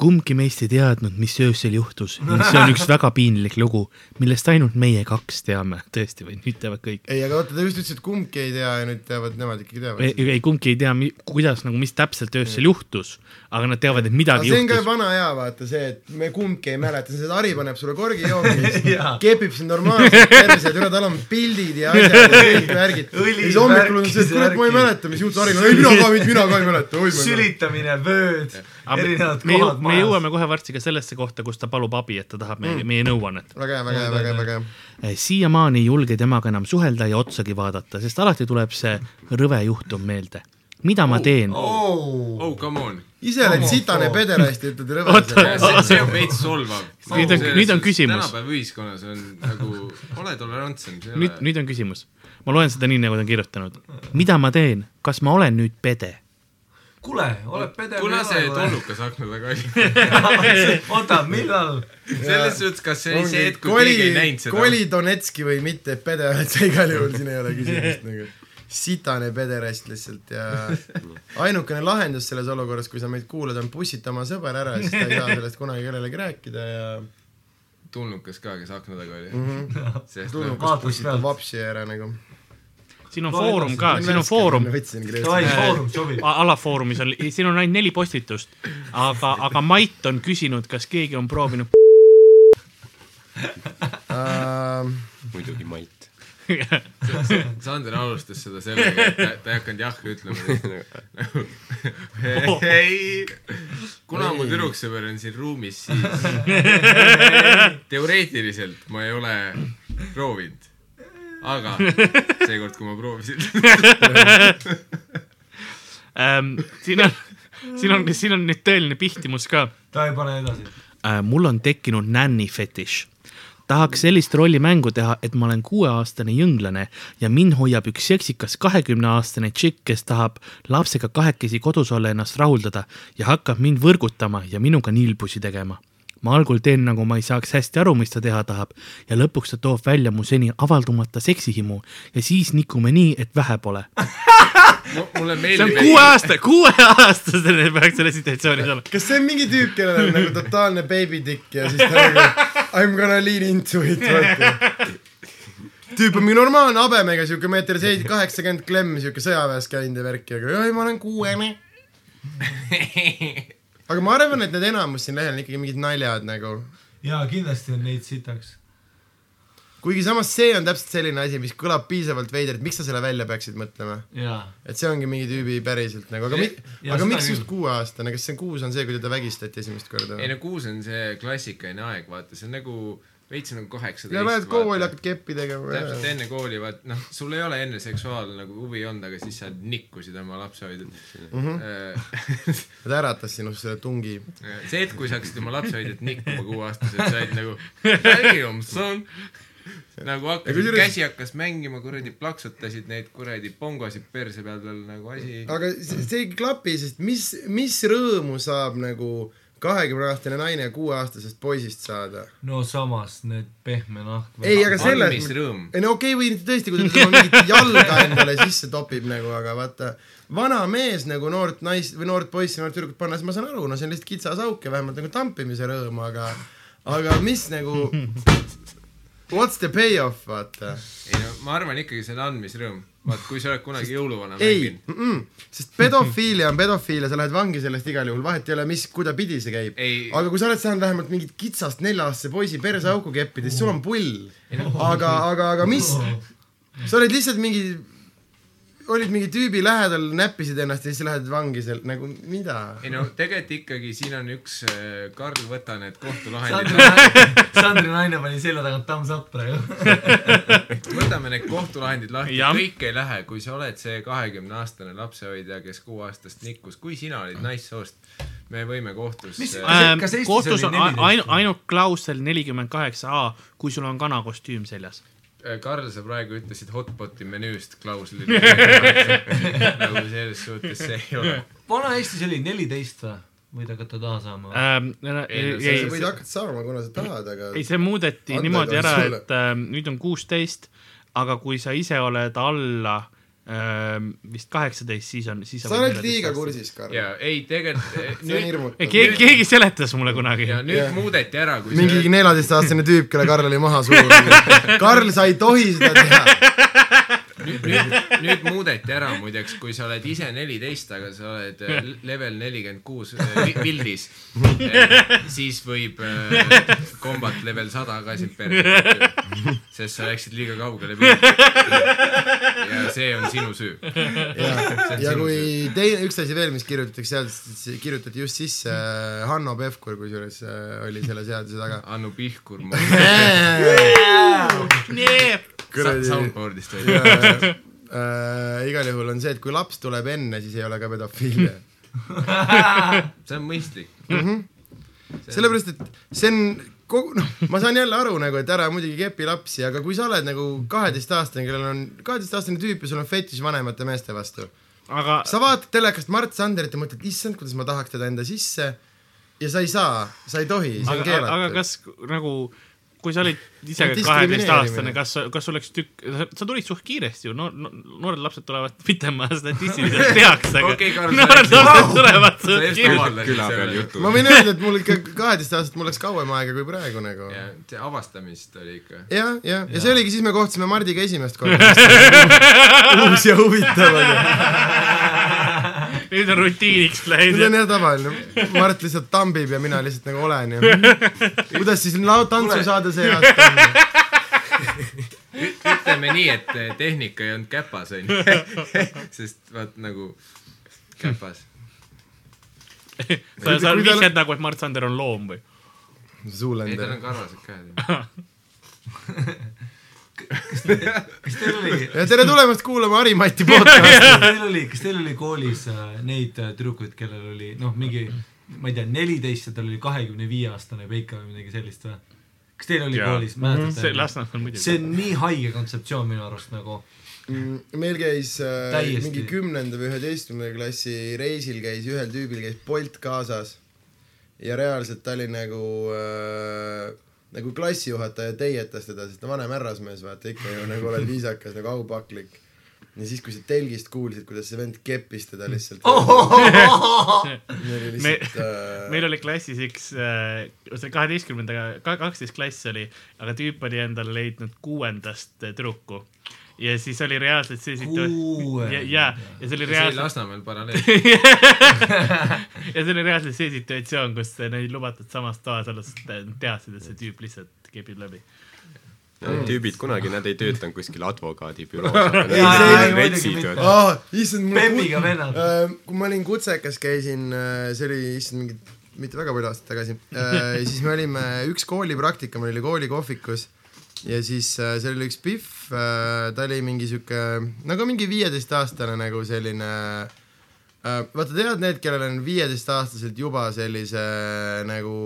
C: kumbki meist ei teadnud , mis öösel juhtus ning see on üks väga piinlik lugu , millest ainult meie kaks teame , tõesti või nüüd teavad kõik .
B: ei , aga oota , ta just ütles , et kumbki ei tea ja nüüd teavad , nemad ikkagi
C: ei
B: teavad .
C: ei, kumbki ei tea , kuidas nagu , mis täpselt öösel juhtus , aga nad teavad , et
B: aga
C: midagi
B: see on ka
C: juhtus .
B: vana hea , vaata see , et me kumbki ei mäleta , see Ari paneb sulle korgi
C: [laughs]
B: joomiks
A: Jaa. ,
B: kepib sind normaalselt perse , türa tal on pildid ja asjad ja
C: [laughs]
B: kõik värgid . ja
A: Õli,
B: siis hommikul on see , et
A: värkis ja
B: kurat , ma ei
A: värki.
B: mäleta , mis juhtus Ariga , ei mina ka , mina ka ei mäleta , oi ma ei mäleta .
A: sülitamine , vööd , erinevad
C: me, jõu-
A: kohad
C: me
A: majas .
C: jõuame kohe varsti ka sellesse kohta , kus ta palub abi , et ta tahab meie, meie nõuannet .
B: väga hea , väga hea , väga hea , väga hea .
C: Eh, siiamaani ei julge temaga enam suhelda ja otsagi vaadata , sest alati tuleb see rõve juhtum meelde . mida ma teen ?
D: oh , come on .
B: ise oled sitane pederast ja ütled
C: Oota.
B: rõvedasele .
D: see see on veits solvav .
C: Nüüd on- nüüd on küsimus.
D: tänapäeva ühiskonnas on nagu , ole tolerantsem .
C: nüüd , nüüd on küsimus . ma loen seda nii , nagu ta on kirjutanud . mida ma teen , kas ma olen nüüd pede ?
A: kuule , oled pede .
D: kuna see ? tolnukas akna taga oli ?
A: [laughs] oota , millal ?
D: selles suhtes , kas see oli see hetk , kui
B: koli
D: keegi ei näinud , seda ?
B: koli Donetski või mitte , pede [laughs] oled sa igal juhul , siin ei ole küsimust nagu . sitane pederast lihtsalt ja ainukene lahendus selles olukorras , kui sa meid kuulad , on pussita oma sõber ära , siis ta ei saa sellest kunagi kellelegi rääkida ja
D: tulnukas ka , kes akna taga oli
B: Mhm.
D: Sest
A: tulnukas.
D: noh,
B: tulnukas
A: Vaatas
B: pussitab
A: pealt.
B: vapsi ära nagu .
C: siin on
A: Loe
C: foorum
A: edasi.
D: Ah,
C: ka , siin on foorum ,
A: Davai , foorum sobib .
C: alafoorumis on , siin on ainult neli postitust , aga , aga Mait on küsinud , kas keegi on proovinud . [laughs]
E: muidugi Mait .
D: Sander alustas seda sellega , et ta- ta ei hakanud jah [laughs] ütlema . ei , kuna mu tüdruksõber on siin ruumis , [laughs] siis teoreetiliselt ma ei ole proovinud . aga seekord , kui ma proovisin ,
C: Ähm, siin on , siin on , siin on nüüd tõeline pihtimus ka
A: ta ei pane edasi .
C: äh, . mul on tekkinud nänni fetiš . tahaks sellist rollimängu teha , et ma olen kuueaastane jõnglane ja mind hoiab üks seksikas kahekümneaastane tšikk , kes tahab lapsega kahekesi kodus olla , ennast rahuldada ja hakkab mind võrgutama ja minuga nilbusi tegema ma algul teen nagu ma ei saaks hästi aru , mis ta teha tahab ja lõpuks ta toob välja mu seni avaldumata seksihimu ja siis nikume nii , et vähe pole .
D: mulle
C: see on
D: meeldib .
C: kuue aasta , kuueaastasene peaks selles situatsioonis olema .
B: kas see on mingi tüüp , kellel on nagu totaalne baby dick ja siis ta nagu I m gonna lean into it , vaata . tüüp on mingi normaalne habemega , siuke meeter seitse , kaheksakümmend klemm , siuke sõjaväes käinud ja värki , aga ei , ma olen kuuene . aga ma arvan , et need enamus siin lehel on ikkagi mingid naljad nagu .
A: jaa , kindlasti on neid sitaks .
B: kuigi samas see on täpselt selline asi , mis kõlab piisavalt veidert , miks sa selle välja peaksid mõtlema .
A: jaa .
B: et see ongi mingi tüübi päriselt nagu , aga mi-
A: Ja- ja ,
B: aga
A: seda
B: miks just
A: küll.
B: kuueaastane , kas see on kuus on see , kui teda vägistati esimest korda
D: ei
B: või ?
D: no kuus on see klassikaline aeg , vaata , see on nagu veits nagu kaheksateist .
B: ja lähed kooli , hakkad keppi tegema .
D: täpselt enne kooli , vaat noh , sul ei ole enne seksuaalne nagu huvi olnud , aga siis sa nikkusid oma lapsehoidjat mm .
B: Mhm.
D: -hmm.
B: ta äratas sinust selle tungi .
D: see hetk , kui sa hakkasid oma lapsehoidjat nikkuma kuueaastaselt , sa olid nagu damn son . nagu hakkas
B: Ja kusjuures- ,
D: käsi hakkas mängima , kuradi plaksutasid neid kuradi pongosid perse peal tal nagu asi .
B: aga see see ei klapi , sest mis , mis rõõmu saab nagu kahekümne aastane naine kuueaastasest poisist saada ?
A: no samas need pehme nahk .
B: ei , aga selles
D: andmis rõõm .
B: ei no okei okay, , või tõesti , kui ta tema mingit jalga endale sisse topib nagu , aga vaata , vana mees nagu noort naist või noort poissi , noort tüdrukut pannes , ma saan aru , no see on lihtsalt kitsas auk ja vähemalt nagu tampimise rõõm , aga , aga mis nagu , what's the payoff , vaata .
D: ei no ma arvan ikkagi see on andmisrõõm . vaat kui sa oled kunagi jõuluvana
B: ei
D: mänginud .,
B: sest pedofiilia on pedofiilia , sa lähed vangi sellest igal juhul , vahet ei ole , mis , kuidapidi see käib .
D: Ei.
B: aga kui sa oled saanud vähemalt mingit kitsast nelja-aastase poisi perseauku keppida , siis sul on pull . aga , aga , aga mis ,
A: Oh.
B: sa oled lihtsalt mingi , olid mingi tüübi lähedal , näppisid ennast ja siis lähed vangi seal , nagu mida ?
D: ei no tegelikult ikkagi siin on üks äh, Karl , võta need [laughs] kohtulahendid ,
A: Sandri , Sandri naine pani selja tagant thumbs up praegu .
D: võtame need kohtulahendid lahti ,
C: Jah.
D: kõik ei lähe , kui sa oled see kahekümne aastane lapsehoidja , kes kuueaastast nikkus , kui sina olid naissoost , me võime kohtus .
A: Mis-
D: Äh,
A: Kas- kas
C: Ähm,
A: Eestis
C: kohtus on
A: oli
C: ain-
A: 14?
C: ainu- , ainult klausel nelikümmend kaheksa A , kui sul on kanakostüüm seljas .
D: äh, Karl , sa praegu ütlesid hotpoti menüüst klausli . [laughs] nagu selles suhtes see ei ole .
A: Vana-Eestis oli neliteist või ? võid hakata taha
C: [laughs]
A: saama .
C: Ähm,
D: Ei,
C: ei,
D: no see-
B: sa
C: ei,
B: võid hakata saama , kuna sa tahad , aga
C: ei , see muudeti
B: Andmed
C: niimoodi
B: on
C: ära ,
B: sulle.
C: et äh, nüüd on kuusteist , aga kui sa ise oled alla äh, vist kaheksateist , siis on , siis
B: sa oled liiga . kursis , Karl .
D: ja ei , tegelikult
B: see on
D: nüüd
B: hirmutav .
C: keegi , keegi seletas mulle kunagi .
D: ja nüüd
B: Jah.
D: muudeti ära , kui
B: mingi neljateistaastane tüüp , kelle Karl oli maha surunud . Karl , sa ei tohi seda teha
D: nüüd , nüüd , nüüd muudeti ära muideks , kui sa oled ise neliteist , aga sa oled äh, level nelikümmend kuus äh, pildis , siis võib äh, kombat level sada ka sind perre võtta. sest sa läksid liiga kaugele pildile . ja see on sinu süü .
B: ja, [laughs]
D: on
B: ja
D: sinu
B: kui teine , üks asi veel , mis kirjutatakse seadusesse , kirjutati just sisse äh, Hanno Pevkur , kusjuures äh, oli selle seaduse taga .
D: Anu Pihkur , soundboard'ist oli .
B: Äh, igal juhul on see , et kui laps tuleb enne , siis ei ole ka pedofiilia .
D: see on mõistlik .
B: sellepärast , et see on kogu , noh , ma saan jälle aru nagu , et ära muidugi kepi lapsi , aga kui sa oled nagu kaheteistaastane , kellel on kaheteistaastane tüüp ja sul on fetiš vanemate meeste vastu
C: aga
B: sa vaatad telekast Mart Sanderit ja mõtled , issand , kuidas ma tahaks teda enda sisse ja sa ei saa , sa ei tohi , see
C: aga ,
B: on
C: aga
B: keelatud .
C: kas nagu , kui sa olid ise
B: See on
C: kaheteistaastane
B: diskrimineerimine. ,
C: kas , kas sul läks tükk , sa tulid suht kiiresti ju , no, no , noored lapsed tulevad pitema statistiliselt heaks , aga
D: Okei, Karl, sa
C: noored
D: läksid-
C: lapsed tulevad
D: sa
C: suht
D: just
C: kiiresti .
D: avaldasid
E: küla peal
D: selle .
E: jutu
B: ma . võin öelda , et mul ikka kaheteist aastaselt mul läks kauem aega kui praegu nagu .
D: ja
B: jah ,
D: see avastamist oli ikka .
B: jah , ja see oligi , siis me kohtusime Mardiga esimest korda . [laughs] uus ja huvitav oli ,
C: nüüd on rutiiniks läinud
B: see . on jah tavaline , Mart lihtsalt tambib ja mina lihtsalt nagu olen ja kuidas siis lao- tantsu saada see aasta on . [laughs]
D: ütleme nii , et äh, tehnika ei olnud käpas , onju . sest vaat nagu käpas .
C: sa , sa
B: Kui tal-
C: vihjad nagu , et Mart Sander on loom või ?
D: ei , tal
B: suulender
D: on . karvased käed .
A: kas teil oli ,
B: ja tere tulemast kuulama Harimati podcasti .
A: kas teil oli , kas teil oli koolis äh, neid äh, tüdrukuid , kellel oli noh , mingi , ma ei tea , neliteist ja tal oli kahekümne viie aastane peika või midagi sellist või ? kas teil oli
C: Jaa. Mhm,
A: koolis ,
C: see
A: mäletate ?
C: Lasnamäel
A: see
C: muidugi .
A: on nii haige kontseptsioon minu arust nagu .
B: Mm, meil käis äh,
A: Täiesti.
B: mingi kümnenda või üheteistkümnenda klassi reisil käis ühel tüübil käis Bolt kaasas ja reaalselt ta oli nagu äh, nagu klassijuhataja teietas teda , sest no vanem härrasmees vaata ikka ju nagu oled viisakas nagu aupaklik . ja siis , kui sa telgist kuulsid , kuidas see vend keppis teda lihtsalt . oli
C: Me-
B: lihtsalt äh,
C: meil oli klassis üks , see kaheteistkümnendaga , kaksteist klass oli , aga tüüp oli endale leidnud kuuendast äh, tüdruku ja siis oli reaalselt see situatsioon , ja ,
A: Kuuendast.
C: ja , ja see oli
D: see oli
C: reaalselt
D: Lasnamäel paralleel .
C: ja see oli reaalselt see situatsioon , kus neil ei lubatud samas toas olla , sest nad teadsid , et see tüüp lihtsalt kebib läbi .
E: tüübid kunagi , nad ei töötanud kuskil advokaadibüroos .
A: Jaa, jaa, ei, muidugi mitte.
E: retsid .
B: aa , issand , mul
A: Pemmiga vennad.
B: Äh, kui ma olin kutsekas , käisin , see oli issand mingi , mitte väga palju aastaid tagasi äh, , siis me olime , üks koolipraktika , meil oli koolikohvikus ja siis äh, seal oli üks Pihv äh, , ta oli mingi sihuke , nagu mingi viieteistaastane nagu selline äh, vaata , tead need , kellel on viieteistaastaselt juba sellise nagu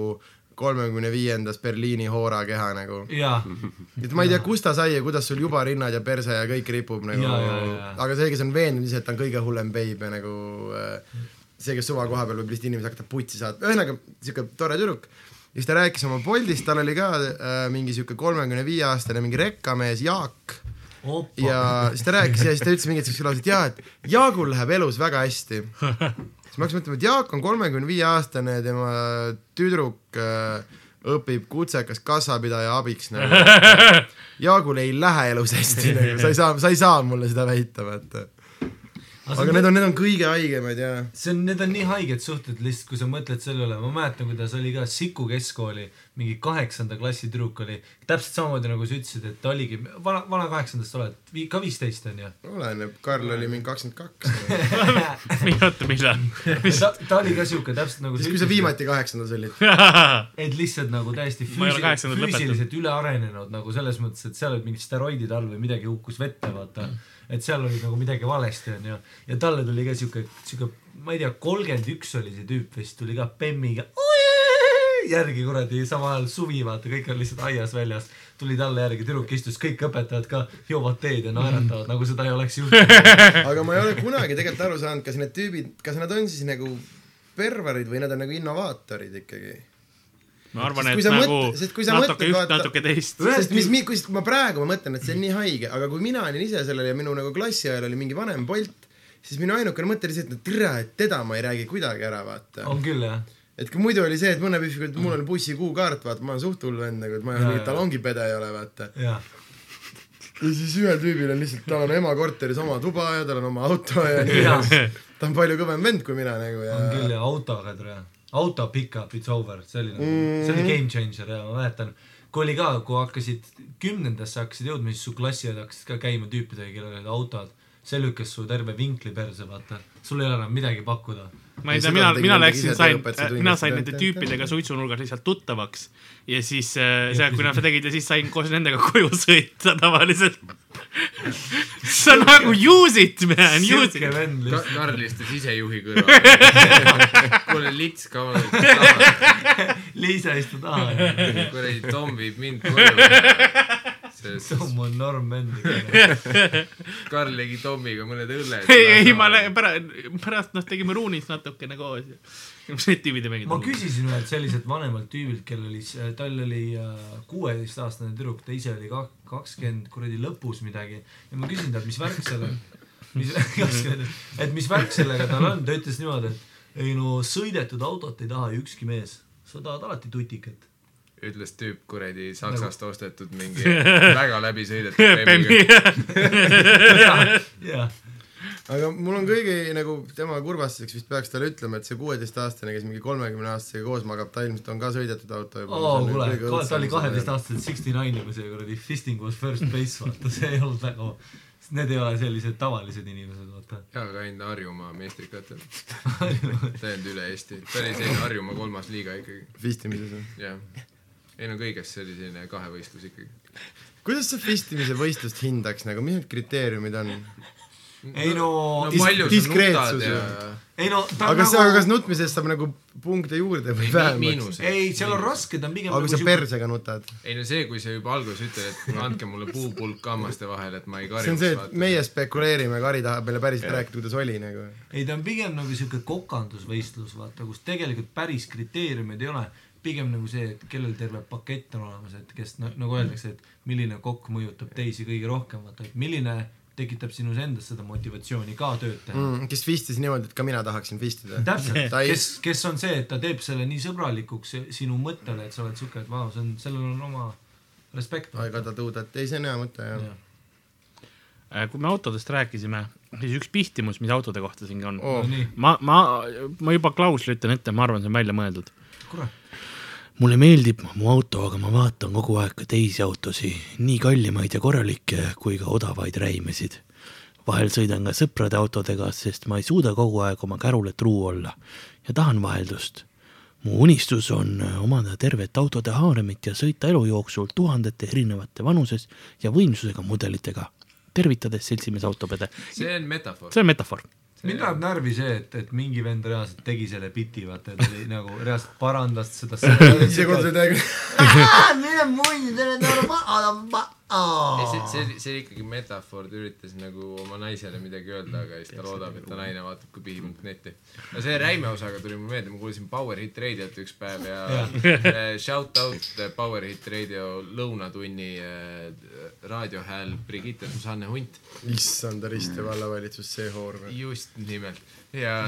B: kolmekümne viiendas Berliini hoorakeha nagu .
A: jaa ,
B: [laughs] et ma ei tea , kust ta sai ja kuidas sul juba rinnad ja perse ja kõik ripub nagu
A: Jaa, jaa, jaa. ,
B: aga see , kes on veendunud ise , et ta on kõige hullem beib ja nagu äh, see , kes suva koha peal võib lihtsalt inimesi hakata putsi saatma , ühesõnaga siuke tore tüdruk . ja siis ta rääkis oma Boltist , tal oli ka äh, mingi siuke kolmekümne viie aastane mingi rekkamees Jaak
A: opa
B: ja . siis ta rääkis ja siis ta ütles mingit siukest lauset , jaa , et Jaagul läheb elus väga hästi . siis ma hakkasin mõtlema , et Jaak on kolmekümne viie aastane , tema tüdruk äh, õpib kutsekas kassapidaja abiks nagu . Jaagul ei lähe elus hästi nagu. , sa ei saa , sa ei saa mulle seda väita , vaata . aga need on , need on kõige haigemad ja
A: see on , need on nii haiged suhted lihtsalt , kui sa mõtled selle üle , ma mäletan , kuidas oli ka Siku keskkooli mingi kaheksanda klassi tüdruk oli , täpselt samamoodi nagu sa ütlesid , et ta oligi , vana , vana kaheksandast oled , ka viisteist on ju .
B: [laughs] oleneb , Karl oli mingi kakskümmend kaks .
C: oota ,
B: [laughs]
C: millal ?
A: ta , ta oli ka siuke täpselt nagu
B: siis kui sa viimati kaheksandas olid .
A: et lihtsalt nagu täiesti
C: Ma ei ole
A: füüsi-
C: kaheksandat lõpetanud.
A: füüsiliselt üle arenenud nagu selles mõttes , et seal olid mingid steroidid all või midagi hukkus vette , vaata . et seal oli nagu midagi valesti , onju . ja talle tuli ka siuke , siuke , ma ei tea , kolmkümmend üks oli see tüüp vist , tuli ka bemmiga järgi kuradi , samal ajal suvi , vaata , kõik on lihtsalt aias väljas . tuli talle järgi , tüdruk istus , kõik õpetajad ka joovad teed ja naeratavad , nagu seda ei oleks juhtunud .
B: aga ma ei ole kunagi tegelikult aru saanud , kas need tüübid , kas nad on siis nagu perverid või nad on nagu innovaatorid ikkagi .
C: ma arvan ,
B: Sest kui
C: et
B: sa mõt-
C: nagu
B: sest kui sa
C: natuke
B: mõtled,
C: üht ,
B: vaata-
C: natuke teist .
A: Ühest
B: sest mis , mis , ma praegu ma mõtlen , et see on nii haige , aga kui mina olin ise sellel ja minu nagu klassi ajal oli mingi vanem Bolt , siis minu ainukene mõte oli see , et no tere , et teda ma ei räägi kuidagi ära , vaata .
C: Oh.
A: on küll jah .
B: et kui muidu oli see , et mõne pühviga , et mul on bussi kuukaart , vaata , ma olen suht hull vend nagu , et ma ei
A: Jaa,
B: ole mingi
A: jaa.
B: talongipede ei ole , vaata .
A: jah ,
B: ja siis ühel tüübil on lihtsalt , tal on ema korteris oma tuba ja tal on oma auto ja nii
A: Jaa.
B: edasi . ta on palju kõvem vend kui mina nagu ja
A: on küll ja autoga tore , auto pickup it's over , see oli nagu mm. , see oli game changer ja ma mäletan , kui oli ka , kui hakkasid kümnendasse hakkasid jõudma , siis su klassiõed hakkasid ka käima tüüpidega , kellel olid autod . see lükkas su terve vinkli perse , vaata , sul ei ole enam midagi pakkuda .
C: ma ei tea ,
B: Ja seda
C: mina ,
B: tegi
C: mina
B: muidugi
C: läksin ,
B: ise
C: sain
B: tööõpetaja , tunnis,
C: mina
B: et
C: sain
B: tä-
C: nende
B: tä-
C: tüüpidega suitsunurgas lihtsalt tuttavaks ja siis äh, see , kui nad seda tegid ja siis sain koos nendega koju sõita tavaliselt . [laughs] see on nagu use it man , use
A: siuke
C: it .
A: vend lihtsalt .
D: Karl istus ise juhi kõrval . [laughs] kuule , lits kaval ,
A: Liisa istu taha ,
D: kuradi Tom viib mind koju .
A: Tom on norm vend .
D: Karl tegi Tomiga mõned õlled .
C: ei , ei ma lähen pärast , pärast noh , tegime ruunis natukene koos ja mis need tüübid ei
A: ma
C: mänginud .
A: küsisin ühelt selliselt vanemalt tüübilt , kellel oli , tal oli äh, kuueteistaastane tüdruk , ta ise oli ka- kakskümmend kuradi lõpus midagi ja ma küsisin talt , mis värk selle , mis , et mis värk sellega tal on , ta ütles niimoodi , et ei no sõidetud autot ei taha ju ükski mees , sa tahad alati tutikat .
D: ütles tüüp kuradi Saksast ostetud
C: [laughs]
D: mingi väga läbisõidetud bemmiga .
A: jah ,
B: aga mul on kõigi nagu tema kurvastuseks vist peaks talle ütlema , et see kuueteistaastane , kes mingi kolmekümne aastasega koos magab , ta ilmselt on ka sõidetud auto juba .
A: oo Oh, kuule , ta oli kaheteistaastaselt sixty nine juba see kuradi fisting was first base , vaata see ei olnud väga , need ei ole sellised tavalised inimesed , vaata .
D: ja käin Harjumaa meistrikatel . täiend üle Eesti , ta oli selline Harjumaa kolmas liiga ikkagi ,
B: fistimises või ?
D: jah . ei no kõigest see oli selline kahevõistlus ikkagi .
B: kuidas sa fistimise võistlust hindaks nagu , mis need kriteeriumid on ?
A: ei no, no ,
D: no palju sa nutad
B: diskreetsus
D: ja
A: ei no ta on
B: aga kas , aga
A: nagu
B: kas nutmisest saab nagu punkte juurde või
D: Mi-
B: vähemaks ?
D: miinused .
A: ei , seal on raske , ta on pigem nagu
B: aga kui sa persega nutad ?
D: ei no see , kui sa juba alguses ütled , et andke mulle puupulk hammaste vahele , et ma ei
B: see on
D: karjuks
B: see , et . meie spekuleerime , Kari tahab meile päriselt rääkida , kuidas oli nagu .
A: ei , ta on pigem nagu siuke kokandusvõistlus , vaata , kus tegelikult päris kriteeriumeid ei ole . pigem nagu see , et kellel terve pakett on olemas , et kes na- nagu öeldakse , et milline kokk mõjutab teisi kõige rohkem , vaata , et milline tekitab sinus endas seda motivatsiooni ka tööd teha mm. .
B: kes fistis niimoodi , et ka mina tahaksin fistida .
A: täpselt
B: [laughs] Ta , ei-
A: kes , kes on see , et ta teeb selle nii sõbralikuks sinu mõttele , et sa oled siuke , et vau , see on , sellel on oma respekt .
B: I got a do that , ei see on hea mõte jah .
C: Äh, kui me autodest rääkisime , siis üks pihtimus , mis autode kohta siin on
B: Oh.
A: nii ,
C: ma , ma , ma juba klausli ütlen ette , ma arvan , see on välja mõeldud .
A: kurat ,
C: mulle meeldib mu auto , aga ma vaatan kogu aeg ka teisi autosid , nii kallimaid ja korralikke kui ka odavaid räimesid . vahel sõidan ka sõprade autodega , sest ma ei suuda kogu aeg oma kärule truu olla ja tahan vaheldust . mu unistus on omada tervet autode haaremit ja sõita elu jooksul tuhandete erinevate vanuses ja võimsusega mudelitega . tervitades seltsimees Autopede .
D: see on metafoor ,
C: see on metafoor .
A: mind ajab närvi see , et , et mingi vend reaalselt tegi selle biti , vaata , ta oli nagu reaalselt parandas seda .
B: see kord oli täiega ,
A: mine munni , tere , tere , ma ,
D: ei ,
A: ma
D: see , see , see oli ikkagi metafoor , ta üritas nagu oma naisele midagi öelda , aga siis ta loodab ,
B: nagu-
D: et ta naine vaatab ka piibult netti . no see räime osaga tuli mulle meelde , ma kuulasin Power Hit Radiot üks päev ja eh, shout out eh, Power Hit Radio lõunatunni eh, raadiohääl Brigitte Susanne Hunt .
B: issand , Risti vallavalitsus , see hoor .
D: just nimelt ja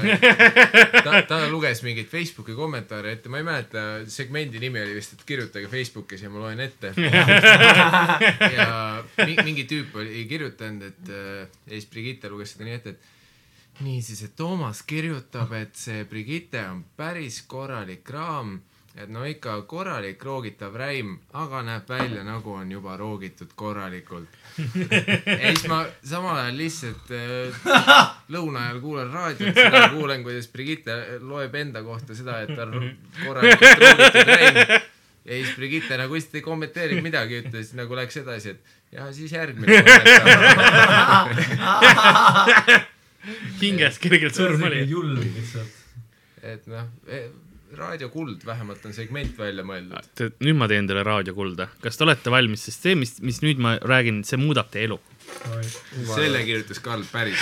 D: ta , ta luges mingeid Facebooki kommentaare ette , ma ei mäleta , segmendi nimi oli vist , et kirjutage Facebookis ja ma loen ette . ja mi- mingi tüüp oli kirjutanud , et äh, ja siis Brigitte luges seda nii ette , et niisiis , et Toomas kirjutab , et see Brigitte on päris korralik raam , et no ikka korralik roogitav räim , aga näeb välja , nagu on juba roogitud korralikult . ja siis ma samal ajal lihtsalt äh, lõuna ajal kuulan raadiot , seda kuulen , kuidas Brigitte loeb enda kohta seda , et ta on ro- korralikult roogitud räim . ja siis Brigitte nagu lihtsalt ei kommenteerinud midagi , ütles nagu läks edasi , et ja siis järgmine kommentaar . [laughs]
C: hinges kergelt surm oli .
A: julm lihtsalt .
D: et noh , raadio kuld vähemalt on segment välja mõeldud .
C: Äh, nüüd ma teen teile raadiokulda , kas te olete valmis , sest see , mis , mis nüüd ma räägin , see muudab teie elu .
D: selle kirjutas Karl
B: [laughs]
D: päris .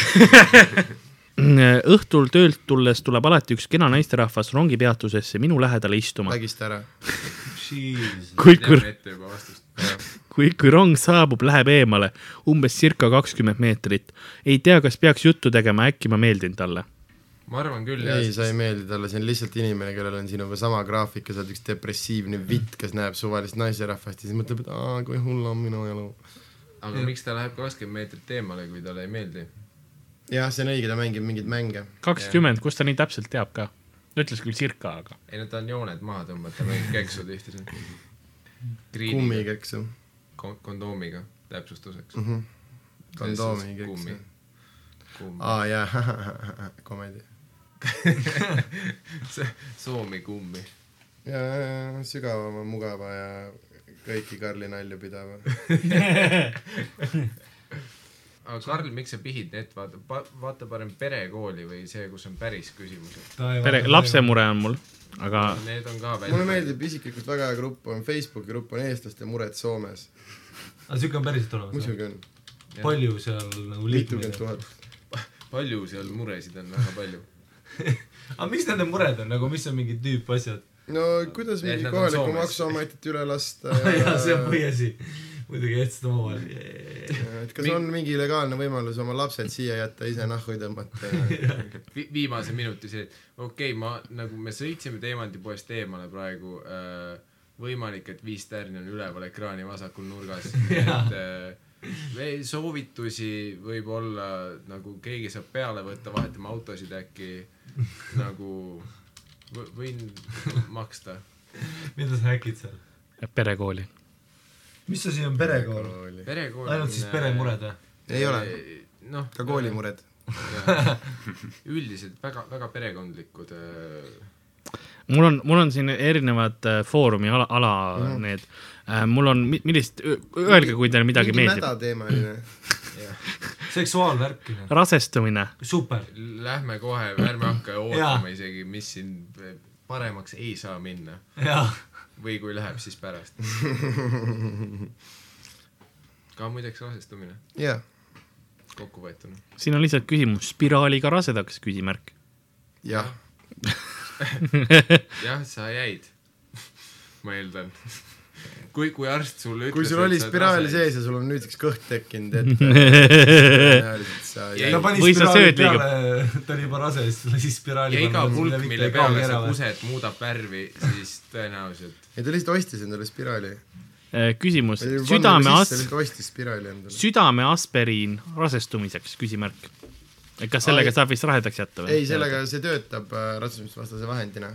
C: Äh, õhtul töölt tulles tuleb alati üks kena naisterahvas rongipeatusesse minu lähedale istuma .
B: vägista ära .
C: kui , kui ,
D: teame ette juba vastust .
C: kui , kui rong saabub , läheb eemale umbes circa kakskümmend meetrit . ei tea , kas peaks juttu tegema , äkki ma meeldin talle .
D: ma arvan küll jah
B: ei ,, sa ei meeldi talle , see on lihtsalt inimene , kellel on sinuga sama graafik ja sa oled üks depressiivne vitt , kes näeb suvalist naisterahvast ja siis mõtleb , et aa , kui hull on minu elu .
D: aga miks ta läheb kakskümmend meetrit eemale , kui talle ei meeldi ?
B: jah , see on õige , ta mängib mingeid mänge .
C: kakskümmend , kust ta nii täpselt teab ka ? ta ütles küll circa , aga .
D: ei no ta on jooned maha tõmmanud , ta mängib keksu tihti siin .
B: kummiga , eks ju .
D: Kon- kondoomiga ,
B: Mhm.
D: täpsustuseks .
B: kondoomiga , eks
D: kummi
B: ju .. aa jaa , [laughs] komedi .
D: Ah, Soomi kummi .
B: ja , ja , ja sügavama , mugava ja kõiki Karli nalju pidava .
D: aga Karl , miks sa pihid need , vaata , vaata parem perekooli või see , kus on päris küsimused .
C: pere , lapsemure on mul , aga
D: Need on ka
B: mulle
D: välja .
B: meeldib isiklikult väga hea grupp on Facebooki grupp on eestlaste mured Soomes .
A: aga siuke on päriselt olemas või ?
B: muidugi on ,
A: palju seal nagu
B: mitukümmend
A: liikmeid on ?
B: tuhat .
D: [laughs] palju seal muresid on , väga palju .
A: aga mis nende mured on nagu , mis on mingid tüüpasjad ?
B: no kuidas
D: Et
B: mingi
D: nad on
B: kohalikku
D: Soomes.
B: maksuametit üle lasta
A: [laughs] jaa , see on põhiasi . muidugi jätsid omavahel .
B: et kas on mingi legaalne võimalus oma lapsed siia jätta , ise nahku tõmmata ja
D: Vi- , viimase minuti see , et okei okay, , ma nagu me sõitsime Teemandipoest eemale praegu äh, . võimalik , et viis tärni on üleval ekraani vasakul nurgas , et äh, veel soovitusi võib-olla nagu keegi saab peale võtta , vahetame autosid äkki nagu võ- võin maksta .
A: mida sa häkid seal ?
C: perekooli .
A: mis asi on perekool ?
B: kooli .
D: perekool .
A: ainult siis peremured või ?
B: ei ole ,
D: noh ,
B: ka . koolimured .
D: üldiselt väga , väga perekondlikud äh,
C: mul on , mul on siin erinevad äh, foorumi ala , ala
B: Mhm.
C: mm. need äh, . mul on , millist , öelge , kui teile midagi
B: mingi
C: meeldib .
B: mädateemaline .
A: seksuaalvärk .
C: rasestumine ,
A: super .
D: Lähme kohe , ärme
B: [clears throat]
D: hakka
A: Jaa.
D: ootama isegi , mis siin paremaks ei saa minna
A: jaa .
D: või kui läheb , siis
B: [laughs]
D: pärast . ka muideks rasestumine
B: jah ,
D: kokkuvõetuna .
C: siin on lihtsalt küsimus , spiraaliga rasedaks , küsimärk .
B: jah .
D: jah , sa jäid . ma eeldan . kui , kui arst sulle ütles .
B: kui sul oli spiraal . sees ja sul on nüüdseks kõht
C: [laughs]
B: tekkinud , et tõenäoliselt sa
D: Ja
B: jäid
A: ta pani
C: Või sa
A: spiraali
C: sööd liiga-
A: peale , ta oli juba rase , siis lasi spiraali
D: ja iga pulk , mille peale sa . kused , muudab värvi , siis tõenäoliselt .
B: ei ta lihtsalt ostis endale spiraali .
C: Äh, küsimus , südame as- ,
B: lihtsalt ostis spiraali endale .
C: südame aspiriin rasestumiseks , küsimärk . kas
B: Ai.
C: sellega saab vist rasedaks jätta või ?
B: ei , sellega , see töötab äh, rasvumisvastase vahendina .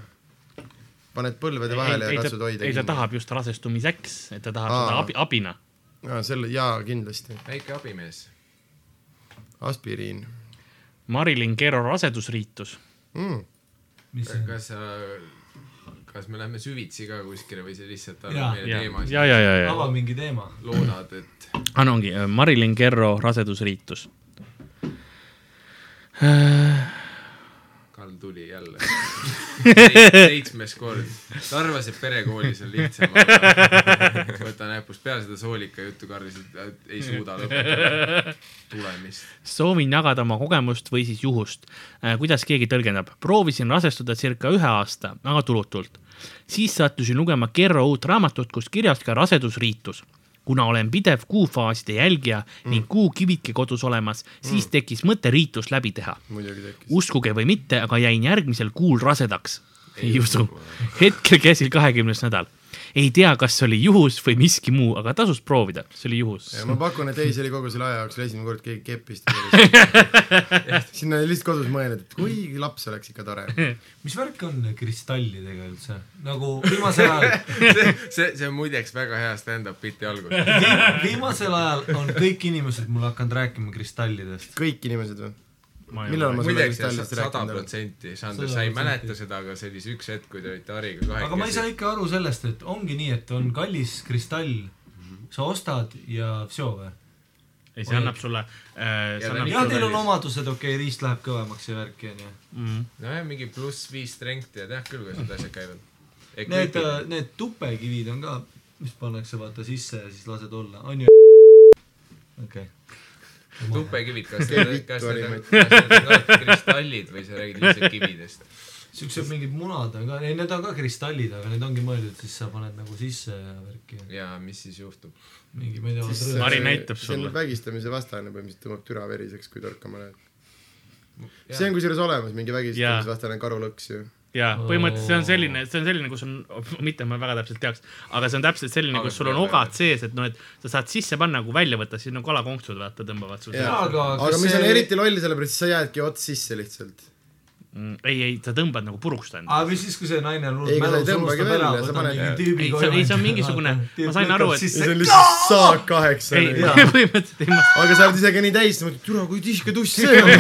B: paned põlvede vahele
C: ei,
B: ja
C: ta,
B: katsud hoida .
C: ei ta . tahab just rasestumiseks , et ta tahab
B: Aa.
C: Aa. seda abi , abina .
B: aa , selle , jaa , kindlasti .
D: väike abimees .
B: aspiriin
C: Marilyn Kerro rasedusriitus .
B: mm. .
A: mis see on ?
D: kas sa , kas me lähme süvitsi ka kuskile või see lihtsalt
A: Jaa.
D: annab meile
C: ja ,
D: teemasid ?
C: ja , ja , ja , ja . Ah,
A: ava mingi teema .
D: loodad , et
C: äh, annan ongi , Marilyn Kerro rasedusriitus .
D: mul tuli jälle Seit- seitsmes kord . ta arvas , et perekoolis on lihtsam , aga [laughs] võta näpust peale seda soolika juttu , Karlis , et ei suuda lõpetada tulemist .
C: soovin jagada oma kogemust või siis juhust , kuidas keegi tõlgendab . proovisin rasestuda circa ühe aasta , aga tulutult . siis sattusin lugema Kerro uut raamatut , kus kirjas ka rasedusriitus . kuna olen pidev kuufaaside jälgija mm. ning kuu kivike kodus olemas , siis tekkis mõte riitus läbi teha .
B: muidugi tekkis .
C: uskuge või mitte , aga jäin järgmisel kuul rasedaks . ei usu . hetkel käsil kahekümnes nädal . ei tea , kas see oli juhus või miski muu , aga tasus proovida , see oli juhus .
B: ja ma pakun , et ei , see oli kogu selle aja jooksul esimene kord keegi [laughs] kepist sinna oli lihtsalt kodus mõelnud , et kui laps oleks ikka tore . [laughs]
A: mis värk on kristallidega üldse ? nagu viimasel ajal ,
D: see , see , see on muideks väga hea stand-up biti algus .
A: viimasel ajal on kõik inimesed mulle hakanud rääkima kristallidest .
B: kõik inimesed või ?
C: millal
B: millal ma sulle
D: muideks
B: kristallist
D: sada
B: rääkinud olen ?
D: protsenti , Sander , sa ei
A: 100%.
D: mäleta seda , aga see oli see üks hetk , kui te olite Hariga
A: aga ma ei saa
D: kahekesi .
A: ikka aru sellest , et ongi nii , et on kallis kristall , sa ostad ja vsoo või ?
C: ei , see annab sulle äh, , see
D: Ja
C: annab
D: Mis
A: jah ,
D: sul
A: teil on
D: oli?
A: omadused , okei okay, , riist läheb kõvemaks ja värki onju .
C: mm, .
D: nojah , mingi pluss viis strength'i ja tead küll , kuidas need asjad käivad .
A: Need , äh, need tupekivid on ka , mis pannakse vaata sisse ja siis lased olla , onju . okei .
D: tupekivid , kas need
B: Vittu ,
D: kas
B: oli
D: need on
B: mõte.
D: kristallid või sa räägid lihtsalt kividest ?
A: siuksed mingid munad on ka , ei need on ka kristallid , aga need ongi mõeldud , siis sa paned nagu sisse ja värki ja
D: ja mis siis juhtub ?
A: mingi , ma ei tea ,
B: Siis-
A: rõõm .
C: Mari näitab
B: see
C: sulle.
B: on vägistamise vastane põhimõtteliselt , tõmbab türa veriseks , kui torkama lähed . see on kusjuures olemas , mingi
C: Jaa.
B: vägistamise vastane karulõks ju .
C: ja
A: Oo.
C: põhimõtteliselt see on selline , see on selline , kus on , [laughs] mitte ma väga täpselt teaks , aga see on täpselt selline ,
D: Aga
C: kus sul on
D: see-
C: ogad sees , et noh , et sa saad sisse panna , kui välja võtta , siis nagu kalakonksud vaata tõmbavad sul .
B: Jaa.
A: aga ,
B: aga mis on eriti loll , sellepärast sa jäädki ots sisse lihtsalt .
C: Mm, ei , ei , sa tõmbad nagu puruks ta enda .
A: aga mis siis , kui see naine on hull
B: Ei, aga sa
A: mälus ,
B: ei tõmbagi
A: unustab ära ,
B: välja, sa
A: võtab
B: paned-
A: mingi tüübi
C: Ei, see- ei, see on mingisugune- ma sain aru, et-
B: see
A: [laughs]
B: on lihtsalt saak kaheksa .
C: ei , [laughs]
A: jaa.
C: põhimõtteliselt ei , ma ,
B: aga sa oled isegi nii täis , mõtled , türa , kui tihke tuss see on .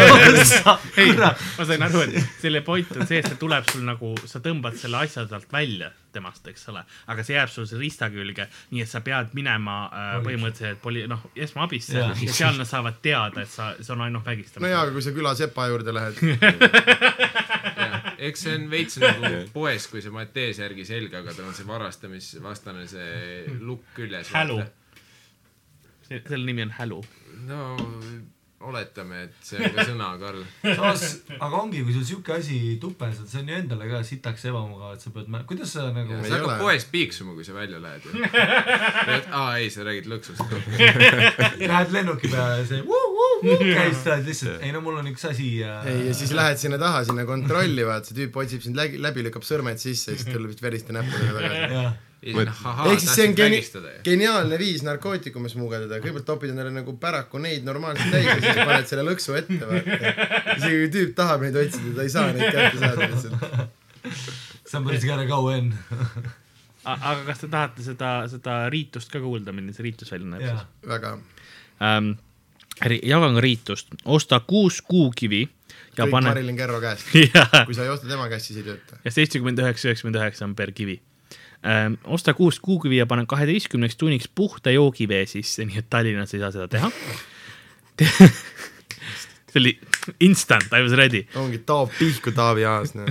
C: ei , ma sain aru , et selle point on see , et ta tuleb sul nagu , sa tõmbad selle asja sealt välja temast , eks ole , aga see jääb sul selle riista külge , nii et sa pead minema äh, põhimõtteliselt poli- , noh , esmaabisse ja.
A: Jaa.
C: ja seal nad saavad teada , et sa , see on ainult vägistamine
B: nojaa , aga kui sa küla sepa juurde lähed ,
D: eks see on veits nagu poes , kui sa paned T-särgi selga , aga tal on see varastamisvastane see lukk küljes .
C: hälu . selle nimi on hälu .
D: no oletame , et see on ka sõna ,
E: [laughs]
D: Karl .
A: samas , aga ongi , kui sul siuke asi tupes on , see on ju endale ka sitaks ebamugav , et sa pead , kuidas sa nagu
D: sa
B: ei
D: hakkad
B: ole.
D: poes piiksuma , kui sa välja lähed
E: [laughs]
D: ju . aa ei , sa räägid lõksust .
A: lähed lennuki peale ja see vuu, vuu, vuu käis , sa oled lihtsalt , ei no mul on üks asi ja
B: [laughs] ei , ja siis lähed sinna taha , sinna kontrolli , vaata , see tüüp otsib sind läbi , läbi lükkab sõrmed sisse ja siis tuleb vist veriste näppudega tagasi .
A: jah ,
D: "Noh,
B: ehk siis see on geni-
D: ju .
B: geniaalne viis narkootikume smugeldada , kõigepealt topid endale nagu päraku neid normaalselt täis ja siis paned selle lõksu ette , vaata . isegi kui tüüp tahab neid otsida , ta ei saa neid kätte saada lihtsalt .
A: somebody's gotta go in .
C: aga kas te tahate seda , seda riitust ka kuulda , milline see riitus välja näeb
A: jah
C: siis ?,
B: väga .
C: ähm, ? jagan ka riitust , osta kuus kuukivi ja
B: kõik
C: [laughs] pane
B: Marilyn Kerro käest .
C: ja ,
B: kui sa ei osta tema käest , siis ei tööta .
C: ja seitsekümmend üheksa , üheksakümmend üheksa on per kivi ähm, . osta kuus kuukivi ja pane kaheteistkümneks tunniks puhta joogivee sisse , nii et Tallinnas ei saa seda teha [laughs] Te... . see oli instant , I was ready .
B: ongi taob pihku Taavi Aas , noh .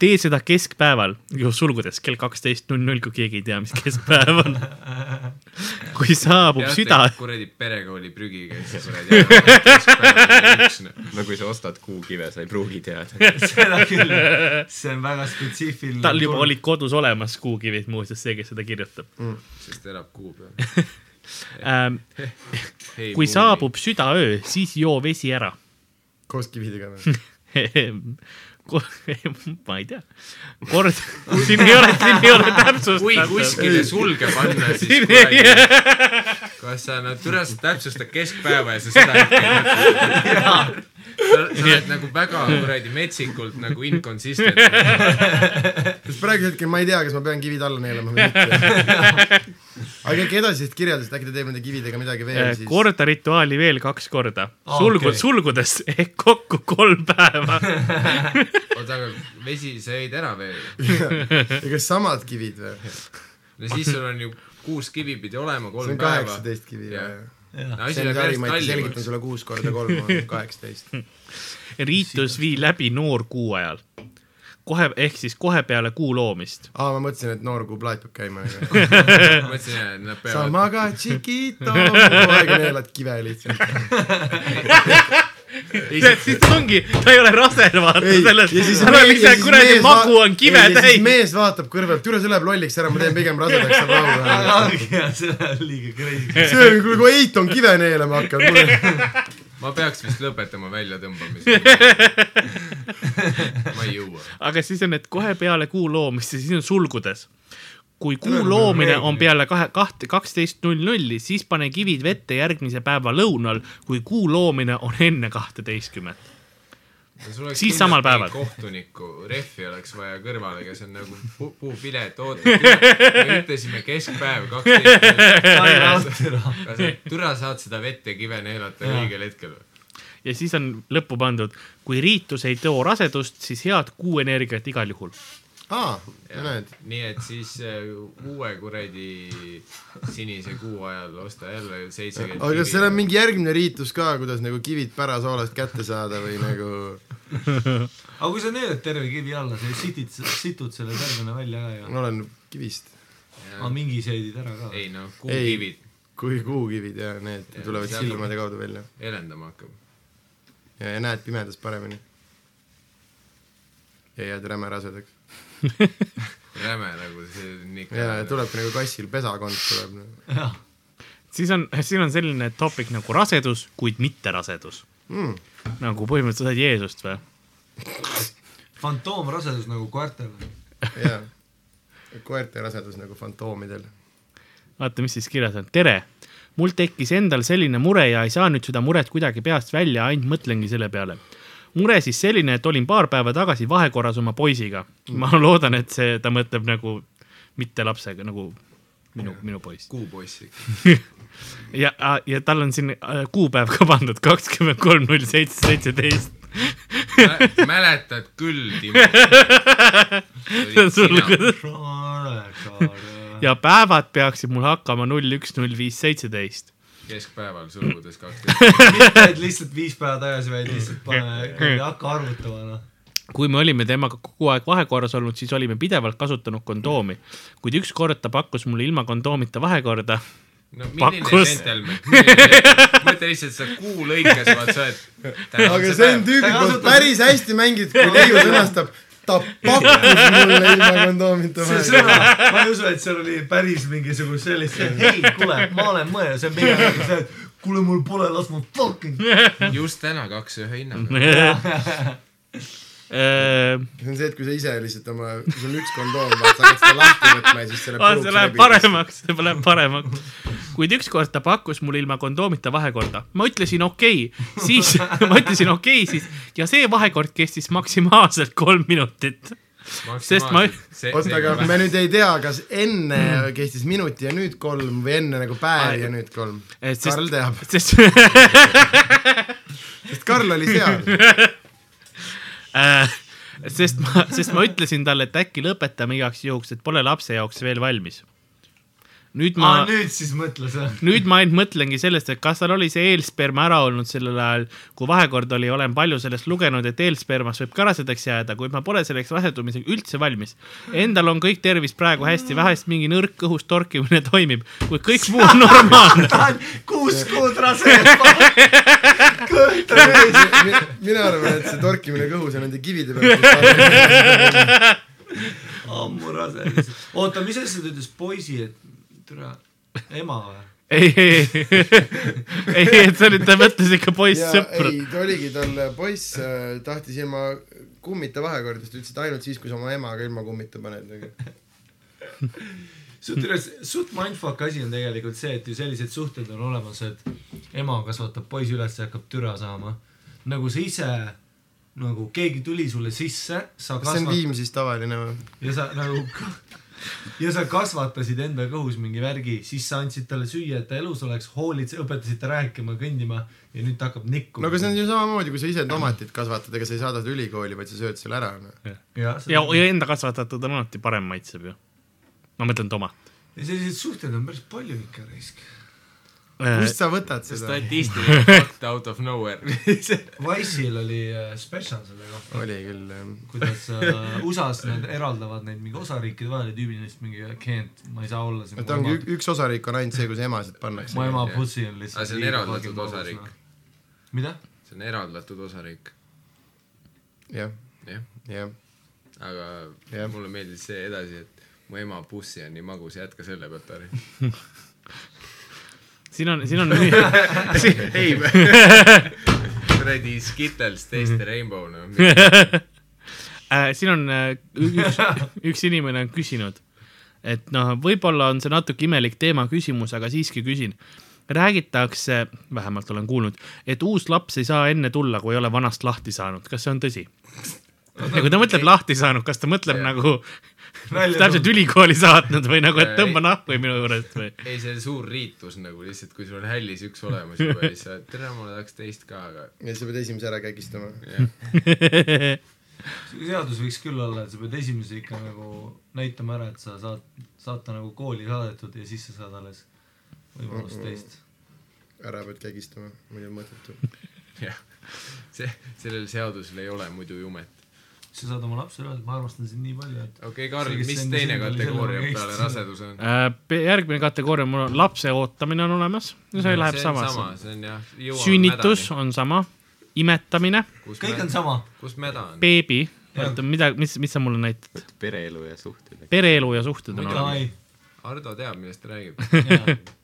C: tee seda keskpäeval , sulgudes kell kaksteist null null , kui keegi ei tea , mis keskpäev on . kui saabub süda ,
D: kuradi perekooli prügi käis see kuradi .
E: [laughs] no kui sa ostad kuukive , sa ei pruugi teada .
A: seda küll , see on väga spetsiifiline .
C: tal juba . olid kodus olemas kuukivid , muuseas see , kes seda kirjutab
D: sest elab kuu peal .
C: [laughs] ähm, . kui . saabub südaöö , siis joo vesi ära
B: koos kividega , noh .
C: Ko- [laughs] ma ei tea , kord , [laughs] siin ei ole , siin ei ole
D: kui
C: täpsustatud . Äh,
D: kuskile sulge panna , siis
C: Siin ei-
D: kuradi , kas sa , no türa , sa täpsustad keskpäeva ja sa seda hetke ei mõtle . sa sa oled nagu väga kuradi metsikult nagu inconsistent .
B: sest praegusel hetkel ma ei tea , kas ma pean kivid alla neelama või mitte .
C: [laughs]
B: aga äkki edasisest kirjeldusest , äkki ta teeb nende kividega midagi
C: Äh,
B: veel siis .
C: korda rituaali veel kaks korda ,
A: Aa,
C: sulgud
A: okei.
C: sulgudes [laughs] ehk kokku kolm
B: [laughs]
C: päeva .
D: oota , aga vesi sa jõid ära veel .
B: ja kas samad kivid või ?
D: no siis sul on ju kuus kivi pidi olema ,
B: see
D: kolm
B: on
D: päeva .
B: kaheksateist kivi
D: Jah.
B: või ? see
D: asi
B: on
D: läheb
B: sari ,
D: järjest
B: ma selgitan
D: kallimaks .
B: sulle kuus korda kolm
D: [laughs]
B: on kaheksateist .
C: riitus vii läbi noorkuu ajal . kohe , ehk siis kohe peale kuu
B: [laughs]
C: loomist .
B: aa , ma mõtlesin , et noor kuu plaat peab käima .
D: ma mõtlesin , et nad
B: [laughs] sa
D: peavad ,
B: magad
D: [laughs]
B: Chiquito , kogu aeg neelad kive lihtsalt .
C: siis ta ongi , ta ei ole rase , vaata
B: ei , ja
C: selles .
B: siis
C: tal on lihtsalt kuradi magu on kive täis .
B: mees vaatab kõrvalt , tule , see läheb lolliks ära , ma teen pigem rasedaks , saab rahu
A: aga
B: ära .
D: [laughs]
A: ongi jah , see läheb liiga crazy'ks .
B: see on , kuule kui Eit on kive neelama hakanud .
D: [laughs] ma peaks vist lõpetama
B: [laughs]
D: väljatõmbamise . ma ei jõua .
C: aga siis on , et kohe peale kuu loomist ja siis on sulgudes . kui kuu loomine on peale kahe , kahte , kaksteist null nulli , siis pane kivid vette järgmise päeva lõunal , kui kuu loomine on enne kahteteistkümmet . Siis samal päeval.
D: kohtuniku rehvi oleks vaja kõrvale , kes on nagu pu- puupilet ootab . me ütlesime keskpäev
A: ai , raudtee
D: kaksteist .
A: raha .
D: türa saad seda vett ja kive neelata õigel hetkel .
C: ja siis on lõppu pandud , kui riitus ei too rasedust , siis head kuu energiat igal juhul .
B: aa , näed .
D: nii et siis äh, uue kuradi sinise kuu ajal osta jälle seitsekümmend
B: aga kas seal on mingi järgmine riitus ka , kuidas nagu kivid pärasoolast kätte saada või nagu
A: [laughs] aga kui sa neelad terve kivi alla , sa ju sitid , situd selle tervena välja ka ju .
B: ma olen kivist ,
A: aga mingi seedid ära ka .
D: ei noh ,
B: Ei.
D: kuukivid
B: kui kuukivid ja need
D: Ja,
B: tulevad
D: seal-
B: silmade kaudu välja
D: helendama hakkab .
B: ja, ja näed pimedas paremini . ja jääd räme rasedaks .
D: räme nagu see on ikka .
B: ja , ja tulebki nagu kassil pesakond tuleb . nagu.
A: jah ,
C: siis on , siin on selline topik nagu rasedus , kuid mitte rasedus
B: Mm. .
C: nagu põhimõtteliselt sa said Jeesust või ?
A: fantoomrasedus nagu koertel .
B: jaa . koerte rasedus nagu fantoomidel .
C: vaata , mis siis kirjas on . tere , mul tekkis endal selline mure ja ei saa nüüd seda muret kuidagi peast välja , ainult mõtlengi selle peale . mure siis selline , et olin paar päeva tagasi vahekorras oma poisiga . ma loodan , et see , ta mõtleb nagu mitte lapsega nagu minu , minu poiss .
D: kuupoiss ikka .
C: ja , ja tal on siin äh, kuupäev ka pandud kakskümmend kolm null seitse seitseteist .
D: mäletad küll ,
C: [laughs]
D: Timo . see olid sina .
C: sulgudes . [laughs] ja päevad peaksid mul hakkama null üks , null viis , seitseteist .
D: keskpäeval sulgudes kaksteist .
A: mitte , et lihtsalt viis päeva tagasi , vaid lihtsalt pane , hakka arvutama noh .
C: kui me olime temaga kogu aeg vahekorras olnud , siis olime pidevalt kasutanud kondoomi , kuid ükskord ta pakkus mulle ilma kondoomita vahekorda .
D: no milline
C: Pakkus.
D: džentelmen . mõtle lihtsalt seda kuu lõikes , vaat sa
B: aga see on
D: oled .
B: tüübi
A: ta
B: poolt
A: kasutab-
B: päris hästi mängitud , kui Leiu sõnastab ,
A: [laughs]
B: ta pakkus mulle ilma kondoomita
A: see
B: vahele .
A: sõna , ma ei usu , et seal oli päris mingisugust sellist , et ei , kuule , ma olen mõelnud , see on pigem nagu see , et kuule , mul pole , las ma fucking .
D: just täna kaks ühe hinnaga .
C: Äh,
B: [laughs] see on see , et kui sa ise lihtsalt oma , sul on üks kondoom , sa hakkad seda lahti võtma ja siis
C: [laughs]
B: see
C: Ah, see läheb
B: läheb puruks .
C: paremaks , see läheb paremaks . kuid ükskord ta pakkus mulle ilma kondoomita vahekorda . ma ütlesin okei okay. , siis [laughs] ma ütlesin okei okay, siis ja see vahekord kestis maksimaalselt kolm minutit . Sest ma-
B: oota , aga me nüüd ei tea , kas enne
C: Mm.
B: kestis minuti ja nüüd kolm või enne nagu päev ja nüüd kolm .
C: Et siis-
B: Karl teab ,
C: sest [laughs]
B: sest Karl oli seal .
C: [laughs] Äh, sest ma , sest ma ütlesin talle , et äkki lõpetame igaks juhuks , et pole lapse jaoks veel valmis . nüüd ma
A: aa ,, Ah, nüüd siis mõtle see .
C: nüüd ma ainult mõtlengi sellest , et kas tal oli see eelsperma ära olnud sellel ajal , kui vahekord oli , olen palju sellest lugenud , et eelspermas võib ka rasedaks jääda , kuid ma pole selleks rasedumisega üldse valmis . Endal on kõik tervis praegu hästi , vahest mingi nõrk kõhus torkimine toimib , kuid kõik muu on
B: [laughs]
C: normaalne .
A: ta on kuus kuud rase . kõht on ees .
B: mina arvan , et see torkimine kõhus ja nende kivide
C: [laughs]
B: peal .
A: ammu rase lihtsalt . oota , mis asja ta ütles , poisi , et türa , ema või ?
C: ei , ei , ei , ei , et see oli , ta mõtles ikka
B: ja
C: poissõpra .
B: ei , ta oligi tal poiss äh, tahtis ilma kummita vahekordist , ütles , et ainult siis , kui sa oma emaga ilma kummita paned . nagu.
A: suht üles , suht mindfuck asi on tegelikult see , et ju sellised suhted on olemas , et ema kasvatab poisi üles ja hakkab türa saama . nagu sa ise , nagu keegi tuli sulle sisse , sa
B: kas see on
A: kasvatad
B: Viimsis tavaline või ?
A: ja sa nagu ja sa kasvatasid enda kõhus mingi värgi , siis sa andsid talle süüa , et ta elus oleks , hoolitse , õpetasid ta rääkima , kõndima ja nüüd ta hakkab nikkuma .
B: no aga see on ju samamoodi , kui sa ise tomatit kasvatad , ega sa ei saada seda ülikooli , vaid sa sööd selle ära . noh.
A: ja,
C: ja
A: ja ,
C: ja enda kasvatatud on alati parem maitseb ju . ma mõtlen tomat .
A: ja selliseid suhteid on päris palju ikka raisk .
C: Äh.
B: kust sa võtad seda ?
D: statistiline fakt out of nowhere . [laughs]
A: Wise'il oli äh, spetsial selle kohta ,
B: oli küll jah .
A: kuidas äh, USA-s nad eraldavad neid mingi osariikide vahel ja tüübil neist mingi can't , ma ei saa olla siin .
B: ta ongi , üks osariik on ainult see , kus emasid pannakse .
A: mu ema
D: jah.
A: pussi on lihtsalt .
D: Aga see on eraldatud osariik. .
A: mida ?
D: see on eraldatud osariik ,
B: jah ,
D: jah .
B: jah .
D: aga
B: Jah.
D: yeah. mulle meeldis see edasi , et mu ema bussi on nii magus , jätka selle pealt ära .
C: siin on , siin on nii ,
D: [laughs] ei , kuradi Skittles teiste Rainbow , noh .
C: siin on äh, ü-
D: [laughs]
C: üks , üks inimene on küsinud , et noh , võib-olla on see natuke imelik teema küsimus , aga siiski küsin . räägitakse , vähemalt olen kuulnud , et uus laps ei saa enne tulla , kui ei ole vanast lahti saanud , kas see on tõsi ? ja kui ta mõtleb lahti saanud , kas ta mõtleb ja. nagu [laughs] täpselt ülikooli saatnud või nagu , et tõmba nahku minu juurest või ?
D: ei , see suur riitus nagu lihtsalt , kui sul on hällis üks olemas juba ja siis sa , tere , ma tahaks teist ka , aga
B: ja sa pead esimese ära kägistama .
A: seadus võiks küll olla , et sa pead esimese ikka nagu näitama ära , et sa saad , saad ta nagu kooli saadetud ja siis sa saad alles võimalust teist .
B: ära pead kägistama , muidu on mõttetu .
D: jah , see , sellel seadusel ei ole mudu jumet .
A: sa saad oma lapsele öelda , et ma armastan sind nii palju , et
D: okei okay, , Karl
A: See, , kes
D: mis
A: enne
D: teine
A: sind oli,
D: kategooria
A: selle ma
D: peale
A: käisin.
D: rasedus on ?
C: Äh, järgmine kategooria , mul on lapse ootamine on olemas ja see läheb
D: see on
C: samasse
D: sama ., see on jah , jõuame
C: sünnitus . on sama , imetamine ,
D: kus
A: kõik
D: me
A: on , sama .
D: kus meda on ?
C: beebi , oota , mida , mis , mis sa mulle näitad ?
E: pereelu ja suhted .
C: pereelu ja suhted on
A: mida
D: [laughs]
C: olemas .
A: ei ,
D: Ardo teab , millest ta räägib . [laughs]
B: ta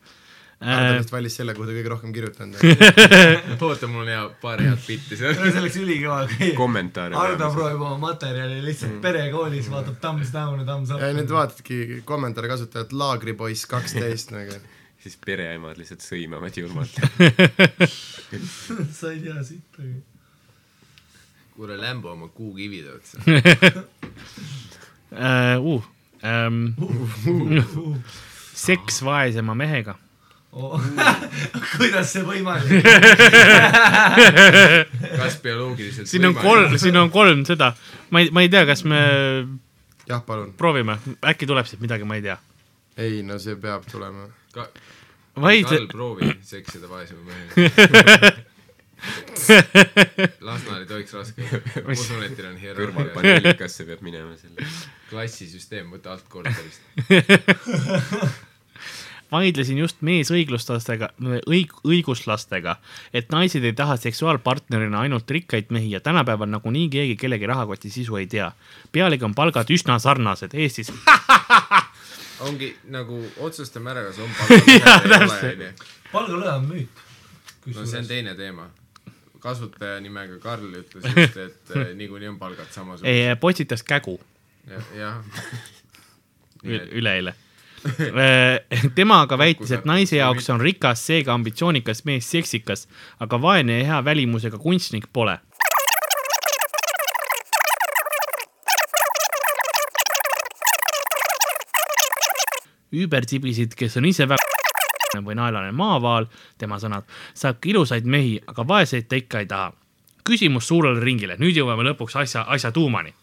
C: Äh,
B: vist valis selle , kuhu ta kõige rohkem kirjutanud
C: [laughs]
D: oota , mul on hea , paar head bitti seal .
A: see oleks ülikõva , kui
E: kommentaare .
A: Ardo proovib oma materjali
D: Mm.
A: lihtsalt perekoolis , vaatab thumbs down ja thumbs
B: on . ja nüüd
A: up .
B: vaatadki kommentaare kasutajat Laagripoiss kaksteist nagu .
E: siis pereemad lihtsalt sõimavad julmalt .
A: [laughs] sa ei tea siit .
D: kuule , lämba oma kuukivid
C: [laughs]
D: otsa .
C: äh, uh, ähm, seks vaesema mehega ,
A: [laughs] kuidas see võimalik
D: [laughs]
A: on ?
D: kas bioloogiliselt
C: siin on kolm , siin on kolm seda , ma ei , ma ei tea , kas me
B: jah , palun .
C: proovime , äkki tuleb siit midagi , ma ei tea .
B: ei , no see peab tulema .
D: Ka-
C: vaid
D: Karl , proovi seksida vaesema mehega . Lasnaal ei tohiks raske olla . ma usun , et teil on hierarhia .
E: kõrvalpaneelikasse peab minema selle .
D: klassisüsteem , võta alt korterist .
C: vaidlesin just meesõiguslastega , õig- , õiguslastega , et naised ei taha seksuaalpartnerina ainult rikkaid mehi ja tänapäeval nagunii keegi kellegi rahakoti sisu ei tea . pealegi on palgad üsna sarnased Eestis .
D: ongi nagu , otsustame ära , kas on palgalõhe .
A: palgalõhe on müük .
D: no see on teine teema . kasutaja nimega Karl ütles just , et eh, niikuinii on palgad samasugused .
C: eh, postitas kägu
D: jah .
C: Ü- üleeile tema aga väitis , et naise jaoks on rikas , seega ambitsioonikas mees seksikas , aga vaene ja hea välimusega kunstnik pole . üübertibisid , kes on ise väga või naelane maavaal , tema sõnad , saab ka ilusaid mehi , aga vaeseid ta ikka ei taha . küsimus suurele ringile , nüüd jõuame lõpuks asja , asja tuumani .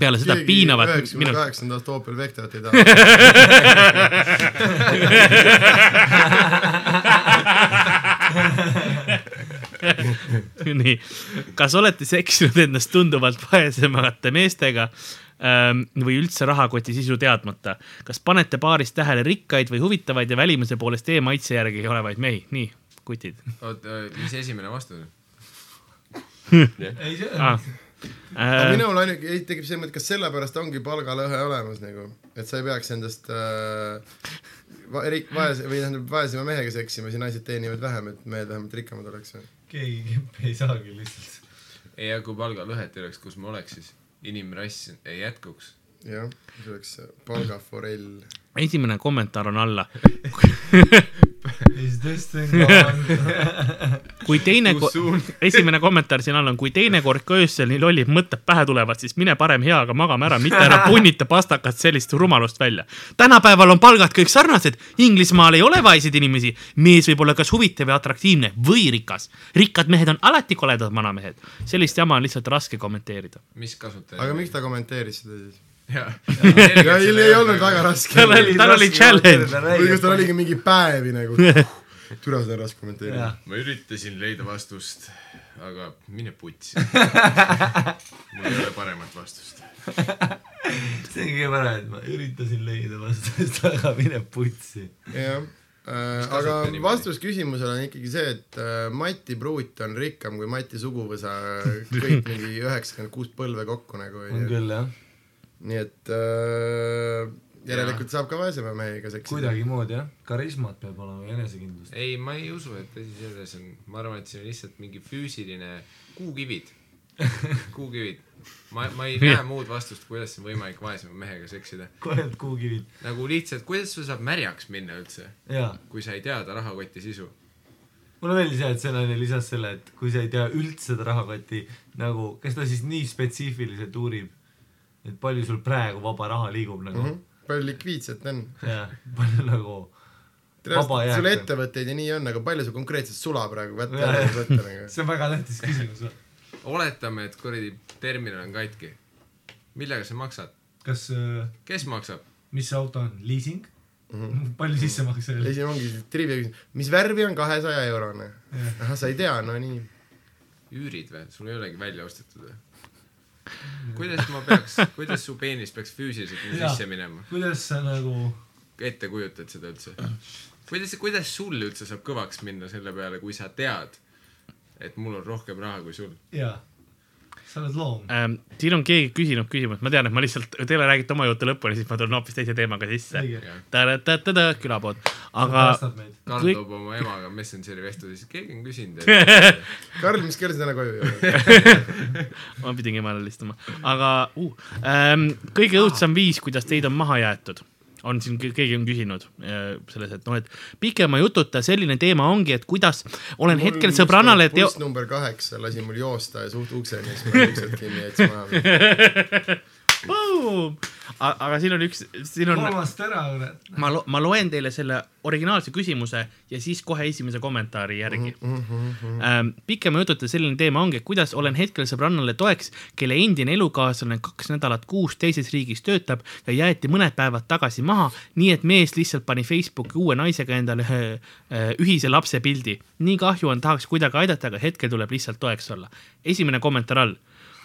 C: peale seda piinavat
B: üheksakümne
C: minu-
B: kaheksanda aasta Opel Vectrat
C: [laughs]
B: ei taha . [laughs]
C: [laughs] nii , kas olete seksinud endast tunduvalt vaesemate meestega ähm, või üldse rahakoti sisu teadmata ? kas panete baaris tähele rikkaid või huvitavaid ja välimuse poolest e-maitse järgi olevaid mehi ? nii , kutid
D: oota , äh, mis esimene vastus on ?
A: ei , see on [laughs]
C: ah. . Äh,
B: minul ainuke , ei tekib see mõte , kas sellepärast ongi palgalõhe olemas nagu , et sa ei peaks endast äh, va- , rik- , vaese või tähendab vaesema mehega seksima , siis naised teenivad vähem , et mehed vähemalt rikkamad oleks .
A: keegi kempi ei saagi lihtsalt .
D: ei , aga kui palgalõhet ei oleks , kus ma oleks siis ? inimrass ei jätkuks .
B: jah , see oleks palgaforell .
C: esimene kommentaar on alla .
A: Is this
C: [laughs]
A: thing on ?
C: kui teine , [laughs] esimene kommentaar siin all on , kui teinekord ka öösel nii lollid mõtted pähe tulevad , siis mine parem heaga magama ära , mitte ära punnita pastakast sellist rumalust välja . tänapäeval on palgad kõik sarnased , Inglismaal ei ole vaeseid inimesi , mees võib olla kas huvitav ja atraktiivne või rikas . rikkad mehed on alati koledad vanamehed , sellist jama on lihtsalt raske kommenteerida .
D: mis kasutaja ?
B: aga miks ta kommenteeris seda [laughs] siis ?
D: ja
B: ei , ei olnud väga raske .
A: [laughs]
C: tal oli , tal oli challenge ,
B: või kas tal oligi mingi päevi nagu ? türa seda on raske kommenteerida .
A: jah ,
D: ma üritasin leida vastust , aga mine
B: [laughs]
D: putsi . mul ei ole paremat vastust .
A: see on kõige parem , et ma üritasin leida vastust , [laughs] aga mine putsi .
B: jah , aga
D: kasuta niimoodi?
B: vastus küsimusele on ikkagi see , et äh, Mati Pruut on rikkam kui Mati suguvõsa äh,
A: [laughs]
B: kõik mingi üheksakümmend kuus põlve kokku nagu
A: on
B: onju .
A: küll jah ,
B: nii et äh, järelikult saab ka vaesema mehega seksida .
A: kuidagimoodi jah , karismat peab olema ja enesekindlust .
D: ei , ma ei usu , et asi selles on , ma arvan , et see on lihtsalt mingi füüsiline ,
B: [laughs]
D: kuukivid , kuukivid . ma , ma ei näe muud vastust , kuidas on võimalik vaesema mehega seksida .
A: kohe kuukivid
D: nagu lihtsalt , kuidas sul saab märjaks minna üldse ,
A: ja
D: kui sa ei tea ta rahakoti sisu ?
A: mulle meeldis jah , et see naine lisas selle , et kui sa ei tea üldse seda rahakoti nagu , kas ta siis nii spetsiifiliselt uurib , et palju sul praegu vaba raha liigub nagu mm -hmm.
B: Mhm. palju likviidset on ?
A: ja palju nagu Vaba jääk
B: sul
A: on.
B: ettevõtteid ja nii on , aga palju sa konkreetselt sula praegu kätte
A: Jaa.
B: ära ei võta nagu ?
A: [laughs] see on väga tähtis küsimus .
D: oletame , et kuradi terminal on katki . millega sa maksad ?
A: kas , äh,
D: kes maksab ?
A: mis see auto on , liising mm ?
D: Mhm.
A: -hmm. [laughs] palju sissemakse oli ?
B: esimene ongi trivia küsimus , mis värvi on kahesaja eurone ? ahah , sa ei tea , no nii .
D: üürid või ? sul ei olegi välja ostetud või ? kuidas ma peaks , kuidas su peenis peaks füüsiliselt mu
A: Jaa.
D: sisse minema ?
A: kuidas sa nagu ,
D: ette kujutad seda üldse ? kuidas , kuidas sul üldse saab kõvaks minna selle peale , kui sa tead , et mul on rohkem raha kui sul ?
A: jaa , sa oled loom .
C: ähm, . siin on keegi küsinud küsimust , ma tean , et ma lihtsalt , teile räägite oma jutu lõpuni , siis ma tulen hoopis teise teemaga sisse .
A: õige ,
C: ta-ta-ta-ta , külapood , aga
A: päästab meid .
D: Karl
C: Kõik-
D: toob oma emaga Messengeri vestluse , siis keegi on küsinud ,
C: [laughs]
D: et
B: Karl , mis kell sa täna koju jõuad ?
C: ma pidin emale helistama , aga uh, ähm, kõige õudsem viis , kuidas teid on maha jäetud , on siin , keegi on küsinud äh, selles , et noh , et pikema jututa selline teema ongi , et kuidas olen mul hetkel sõbrannale teo-
B: buss , number kaheksa lasi mul joosta ja suht ukseni , siis ma uksed kinni jätsin maha .
C: aga siin on üks , siin on ,
A: kolmas täna , kurat .
C: ma , ma loen teile selle originaalse küsimuse ja siis kohe esimese kommentaari järgi mm . -hmm. Ähm, pikema jututa selline teema ongi , et kuidas olen hetkel sõbrannale toeks , kelle endine elukaaslane kaks nädalat kuus teises riigis töötab ja jäeti mõned päevad tagasi maha , nii et mees lihtsalt pani Facebooki uue naisega endale ühe äh, ühise lapse pildi . nii kahju on , tahaks kuidagi aidata , aga hetkel tuleb lihtsalt toeks olla . esimene kommentaar all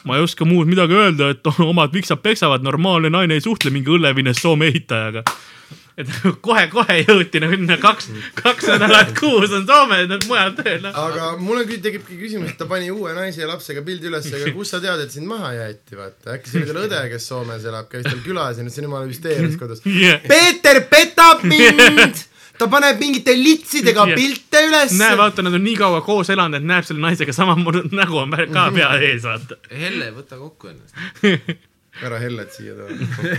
C: ma ei oska muud midagi öelda , et [laughs] omad viksad peksavad , normaalne naine ei suhtle mingi õllevines Soome ehitajaga et [laughs] kohe-kohe jõuti nagu sinna kaks , kaks nädalat kuus on Soome , nad mujal tööl . noh.
B: aga mul on küll , tekibki küsimus , et ta pani uue naise ja lapsega pildi üles , aga kust sa tead , et sind maha jäeti , vaata . äkki see oli tal õde , kes Soomes elab , käis tal külas ja nüüd see on jumala hüsteerias kodus .
C: Yeah.
B: Peeter petab mind , ta paneb mingite litsidega
C: Jah.
B: pilte
C: näe ,
B: üles .
C: vaata , nad on nii kaua koos elanud , et näeb selle naisega samamoodi [laughs] nägu on pär- ka pea ees , vaata .
D: Helle , võta kokku ennast .
B: ära Hellet siia too .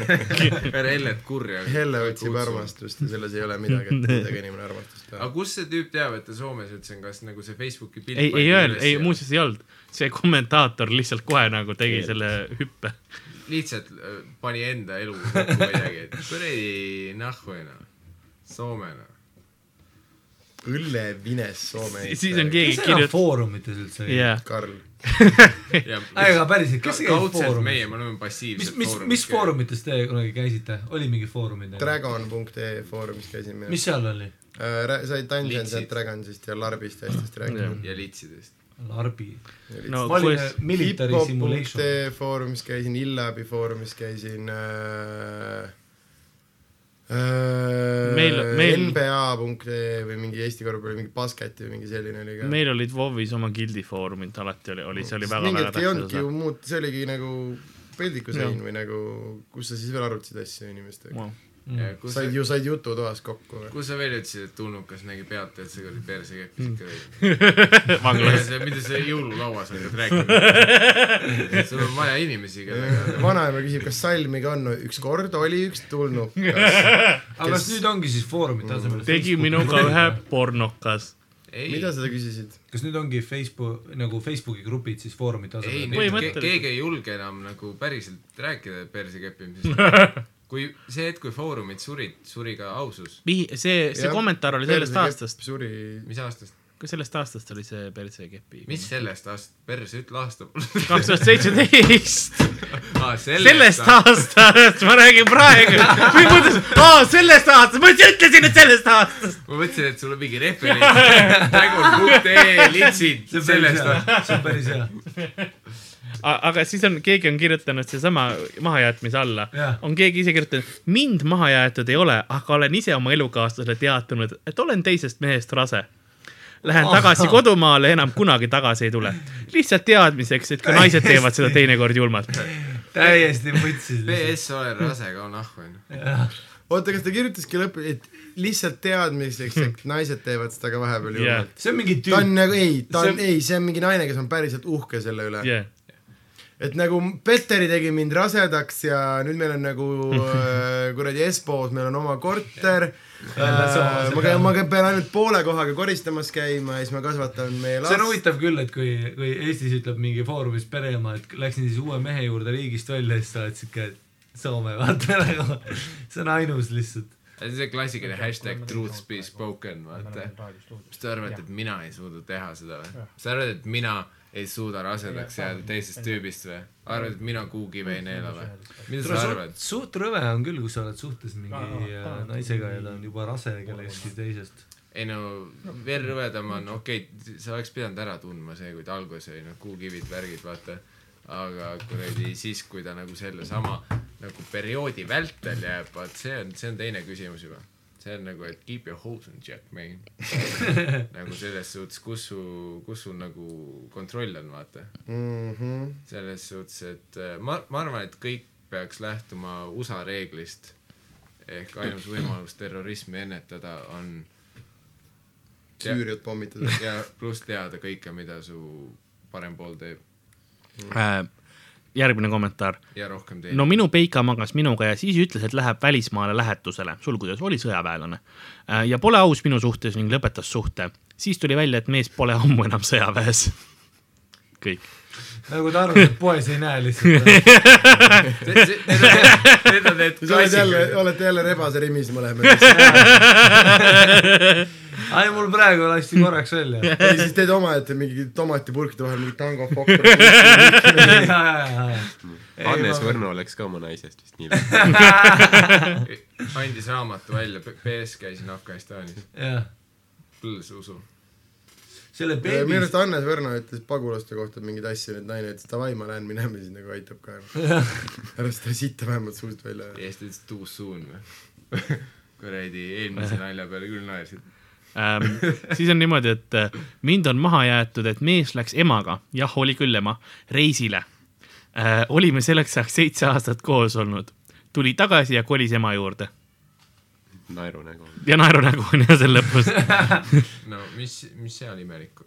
D: ära Hellet kurja .
B: Helle otsib . armastust ja selles ei ole midagi , et kuidagi inimene armastust
D: aga
B: tahab .
D: kust see tüüp teab , et ta Soomes üldse on , kas nagu see Facebooki pilt
C: ei , ei
D: pandi
C: öelnud ,
D: üles
C: ei
D: ja
C: muuseas ei olnud . see kommentaator lihtsalt kohe nagu tegi selle hüppe .
D: lihtsalt äh, pani enda elu kokku kuidagi , et kuradi nahhuina , Soomena .
B: õllevines Soome .
C: siis on . keegi
A: kes elab
C: kirjutanud .
A: foorumites üldse ?
C: jah ,
B: Karl ,
A: [laughs] aga päriselt , kes käib
D: kaudselt meie ,
A: foorumites ?
D: me oleme
A: mis
D: passiivsed .,
A: mis , mis ? foorumites te kunagi käisite , oli mingi foorumid ?
B: Dragon.ee foorumis käisin mina .
A: mis seal oli ?
B: Äh, sai Dungeons and
D: Litsid.
B: Dragonsist ja Larbist ja asjadest rääkima .
D: ja litsidest .
A: larbi .
C: no
A: ma olin
C: kuidas ,
A: military simulation .
D: eh,
B: hipo.ee foorumis käisin , Illabi foorumis käisin äh, .
C: Meil- meil-
B: NBA.ee või mingi Eesti korvpalli , mingi basketi või mingi selline oli ka .
C: meil olid WoW-is oma gildi foorumid , alati oli , oli , see oli väga ,
B: mingi
C: väga
B: hetk ei
C: tähtis
B: olnudki
C: osa
B: ju . muud , see oligi nagu peldikusõin või nagu , kus sa siis veel arutasid asju inimestega .
A: Mm.
B: said ju , said jututoas kokku .
D: kus sa veel ütlesid , et tulnukas nägi pealt , et see kuradi perse
B: Mm.
D: keppis ikka veel ?
C: vanglas .
D: mida sa jõululauas hakkad rääkima ?
A: [laughs]
D: sul on vaja inimesi , kellega .
B: vanaema küsib , kas salmiga on , ükskord oli üks
C: [laughs]
B: tulnud .
A: aga kas nüüd ongi siis
D: Mhm.
A: foorumite asemel Facebooki
C: tegi
B: [laughs]
C: minuga
A: grupid
C: ühe
A: või?
C: pornokas .
D: ei ,
B: mida sa küsisid ?
A: kas nüüd ongi Facebook , nagu Facebooki grupid siis foorumite
D: ei ,
A: asemel ?
D: nüüd ke-
C: Põhimõtteliselt.
D: keegi ei julge enam nagu päriselt rääkida perse
A: [laughs]
D: keppimisest . kui see hetk , kui foorumid surid , suri ka ausus .
C: see , see
B: Jah,
C: kommentaar oli sellest
B: perse
C: aastast .
B: kepp suri
D: mis aastast ?
C: kas sellest aastast oli see persekepi ?
D: mis sellest aastast , pers , ütle
C: [laughs]
D: aasta . Ah,
C: kaks tuhat seitseteist .
D: aa ,
C: sellest . aastast , ma räägin praegu . või mõtlesin , aa , sellest aastast , ma just ütlesin , et sellest aastast .
D: ma mõtlesin , et sul on mingi referents . nägu.ee , litsid , sellest aastast .
A: see on päris hea .
C: aga siis on , keegi on kirjutanud seesama mahajätmise alla
A: Jah. .
C: on keegi ise kirjutanud , mind maha jäetud ei ole , aga olen ise oma elukaaslasele teatanud , et olen teisest mehest rase . Lähen tagasi kodumaale , enam kunagi tagasi ei tule . lihtsalt teadmiseks , et ka naised teevad seda teinekord julmalt .
A: täiesti võtsid .
D: PS olen rase ka nahku onju .
B: oota , kas ta kirjutaski lõppu , et lihtsalt teadmiseks , et naised teevad seda ka vahepeal
C: Hmm. Jah.
B: julmalt yeah. ?
A: see on mingi
B: ta on
A: tüüp .
B: nagu , ei , ta
A: See
B: on
A: on- ,
B: ei , see on mingi naine , kes on päriselt uhke selle üle yeah. .
C: jah ,
B: et nagu Petteri tegi mind rasedaks ja nüüd meil on
C: [laughs]
B: nagu äh, kuradi Espoos , meil on oma korter
C: Äh,
A: Väljas
B: yeah.
A: omas-
B: ma käin , ma käin- pean ainult poole kohaga koristamas käima ja siis ma kasvatan meie
A: see on
B: last .
A: huvitav küll , et kui , kui Eestis ütleb mingi foorumis pereema , et läksin siis uue mehe juurde riigist välja , siis sa oled siuke Soome , vaata [laughs] nagu . see on ainus lihtsalt .
D: see on see klassikaline hashtag truth be spoken , vaata . mis te arvate , et mina ei suuda teha seda või ? sa arvad , et mina ei suuda rasedaks jääda teisest tüübist või ? arvad , et mina kuukive ei neela või ? mida sa arvad ?
A: suht rõve on küll , kui sa oled suhtes mingi äh, naisega ja ta on juba rase kellestki teisest .
D: ei no veel rõvedam on , okei okay, , sa oleks pidanud ära tundma see , kui ta alguses oli noh , kuukivid , värgid , vaata . aga kuradi siis , kui ta nagu sellesama nagu perioodi vältel jääb , vaat see on , see on teine küsimus juba . see on nagu , et keep your hopes in check , man . [laughs] nagu selles suhtes , kus su , kus sul nagu kontroll on , vaata .
B: Mhm.
D: selles suhtes , et äh, ma , ma arvan , et kõik peaks lähtuma USA reeglist . ehk ainus võimalus terrorismi ennetada on
B: Süüriat
C: [laughs]
B: pommitada .
D: ja pluss teada kõike , mida su parem pool teeb
C: järgmine kommentaar
D: ja rohkem teeb
C: no . minu peika magas minuga ja siis ütles , et läheb välismaale lähetusele , sulgudes oli sõjaväelane . ja pole aus minu suhtes ning lõpetas suhte . siis tuli välja , et mees pole ammu enam sõjaväes . [laughs] kõik .
A: nagu ta arvab , et poes ei näe [laughs] lihtsalt .
D: Need on need
B: sa oled jälle ,
D: klassikalised .
B: olete jälle rebase rimis
C: [laughs]
B: mõlemad .
A: ai , mul praegu lasti korraks [laughs] välja .
B: ja siis teed omaette mingi tomatipurkide vahel mingi tango fokk .
A: [laughs]
E: Hannes Võrno oleks ka oma naisest vist nii läinud .
D: [laughs] andis raamatu välja , PS käisin Afganistanis ,
A: jah ,
D: põlles usu .
A: selle
B: minu
A: beebi
B: arust Hannes Võrno ütles pagulaste kohta mingeid asju , nüüd naine ütles davai , ma lähen minema , siis nagu aitab ka .
A: [laughs]
B: ära seda sitta vähemalt suust välja aja .
D: ja siis ta ütles too soon [laughs] või . kuradi
A: [laughs]
D: eelmise nalja peale küll naersid .
C: Ähm, siis on niimoodi , et äh, mind on maha jäetud , et mees läks emaga , jah , oli küll ema , reisile äh, . olime selleks ajaks seitse aastat koos olnud , tuli tagasi ja kolis ema juurde
E: naerunägu .
C: ja naerunägu on jah [laughs] seal lõpus .
D: no mis , mis seal
A: [laughs]
D: imelikku .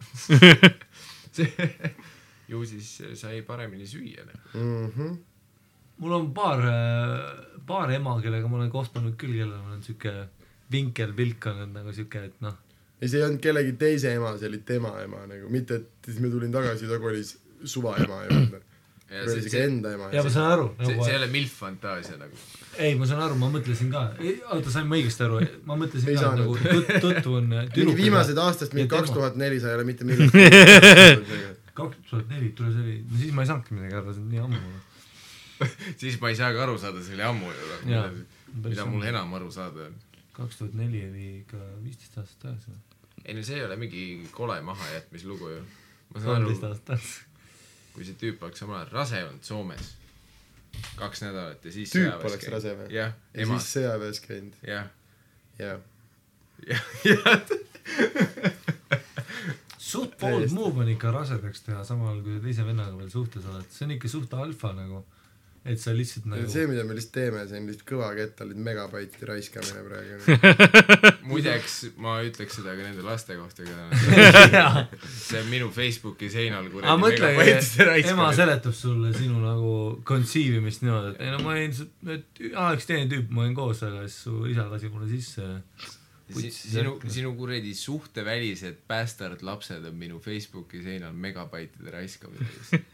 D: ju siis sai paremini süüa . nagu.
B: Mhm.
A: mul on paar , paar ema , kellega ma olen kohtunud küll , kellel on sihuke vinkelpilk olnud nagu sihuke , et noh ,
B: ja see ei olnud kellegi teise ema , see oli tema ema nagu , mitte et siis ma tulin tagasi , ta kolis suva ema juurde .
D: ja
B: või
D: see ,
B: isegi
D: see ,
B: enda ema .
A: ja ma saan aru
D: see
A: nagu
D: ei , ole milf fantaasia nagu .
A: ei , ma saan aru , ma mõtlesin ka , oota , sain ma õigesti aru , ma mõtlesin
B: Ei
A: ka , et nagu
B: saanud.
A: tut- äh, tutvun
B: mingi viimased aastast mingi
A: Ja tema.
B: kaks tuhat neli sa ei ole mitte
A: [laughs]
B: millegi .
A: kaks tuhat neli , tule see oli , no siis ma ei saanudki midagi aru , see on nii ammu olnud .
D: siis ma ei saa ka aru saada , see oli ammu ju
A: Jaa.
D: nagu , mida mul enam aru saada on .
A: kaks tuhat neli oli ikka viisteist aastat tagasi või ?
D: ei no see ei ole mingi kole mahajätmislugu ju . ma saan
A: kolmteist
D: aru ,
A: aastat tagasi .
D: kui see tüüp oleks omal ajal rase olnud Soomes kaks nädalat ja siis
B: Tüüp
D: sõjaväes
B: oleks
D: käinud.
B: rase või?
D: jah ,
B: ja
D: ema
B: siis , sõjaväes käinud , [laughs]
D: jah ,
B: jah .
D: jah , jah .
A: suht bold move on ikka rasedaks teha , samal ajal kui sa teise vennaga veel suhtes oled , see on ikka suht alfa nagu , et sa lihtsalt nagu
B: see , mida me lihtsalt teeme , see on lihtsalt kõva kett , olid megabaiti raiskamine praegu .
D: muideks ma ütleks seda ka nende laste kohta ,
B: [laughs]
D: keda nad
A: [laughs]
D: see on minu Facebooki seinal
A: aga
D: kuradi megabaitide
A: mõtle , ema
D: raiskamine .
A: seletab sulle sinu nagu conceivimist niimoodi , et ei no ma olin , et aa , üks teine tüüp , ma olin koos , aga siis su isa lasi mulle sisse ja
D: sinu , sinu kuradi suhtevälised bastard lapsed on minu Facebooki seinal megabaitide raiskamine .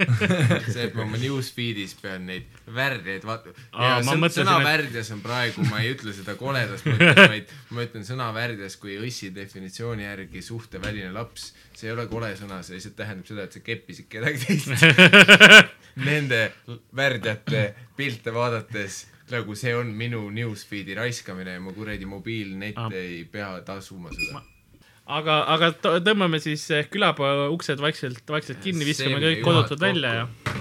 D: [laughs] see , et ma oma newsfeed'is pean neid värdjaid vaatama .
C: Aa, ma mõtlesin,
D: sõna
C: et-
D: värdjas on praegu , ma ei ütle seda koledas mõttes ,
C: [laughs]
D: vaid ma ütlen sõna värdjas kui õssi definitsiooni järgi suhteväline laps . see ei ole kole sõna , see lihtsalt tähendab seda , et sa keppisid kedagi teist .
C: [laughs]
D: Nende värdjate pilte vaadates nagu see on minu newsfeed'i raiskamine ja mu kuradi mobiilnet
C: Aa.
D: ei pea tasuma seda .
C: aga , aga tõ- tõmbame siis eh, külapoe uksed vaikselt , vaikselt kinni , viskame
D: Seemne
C: kõik
D: juhad
C: kodutud
D: kokku.
C: välja ja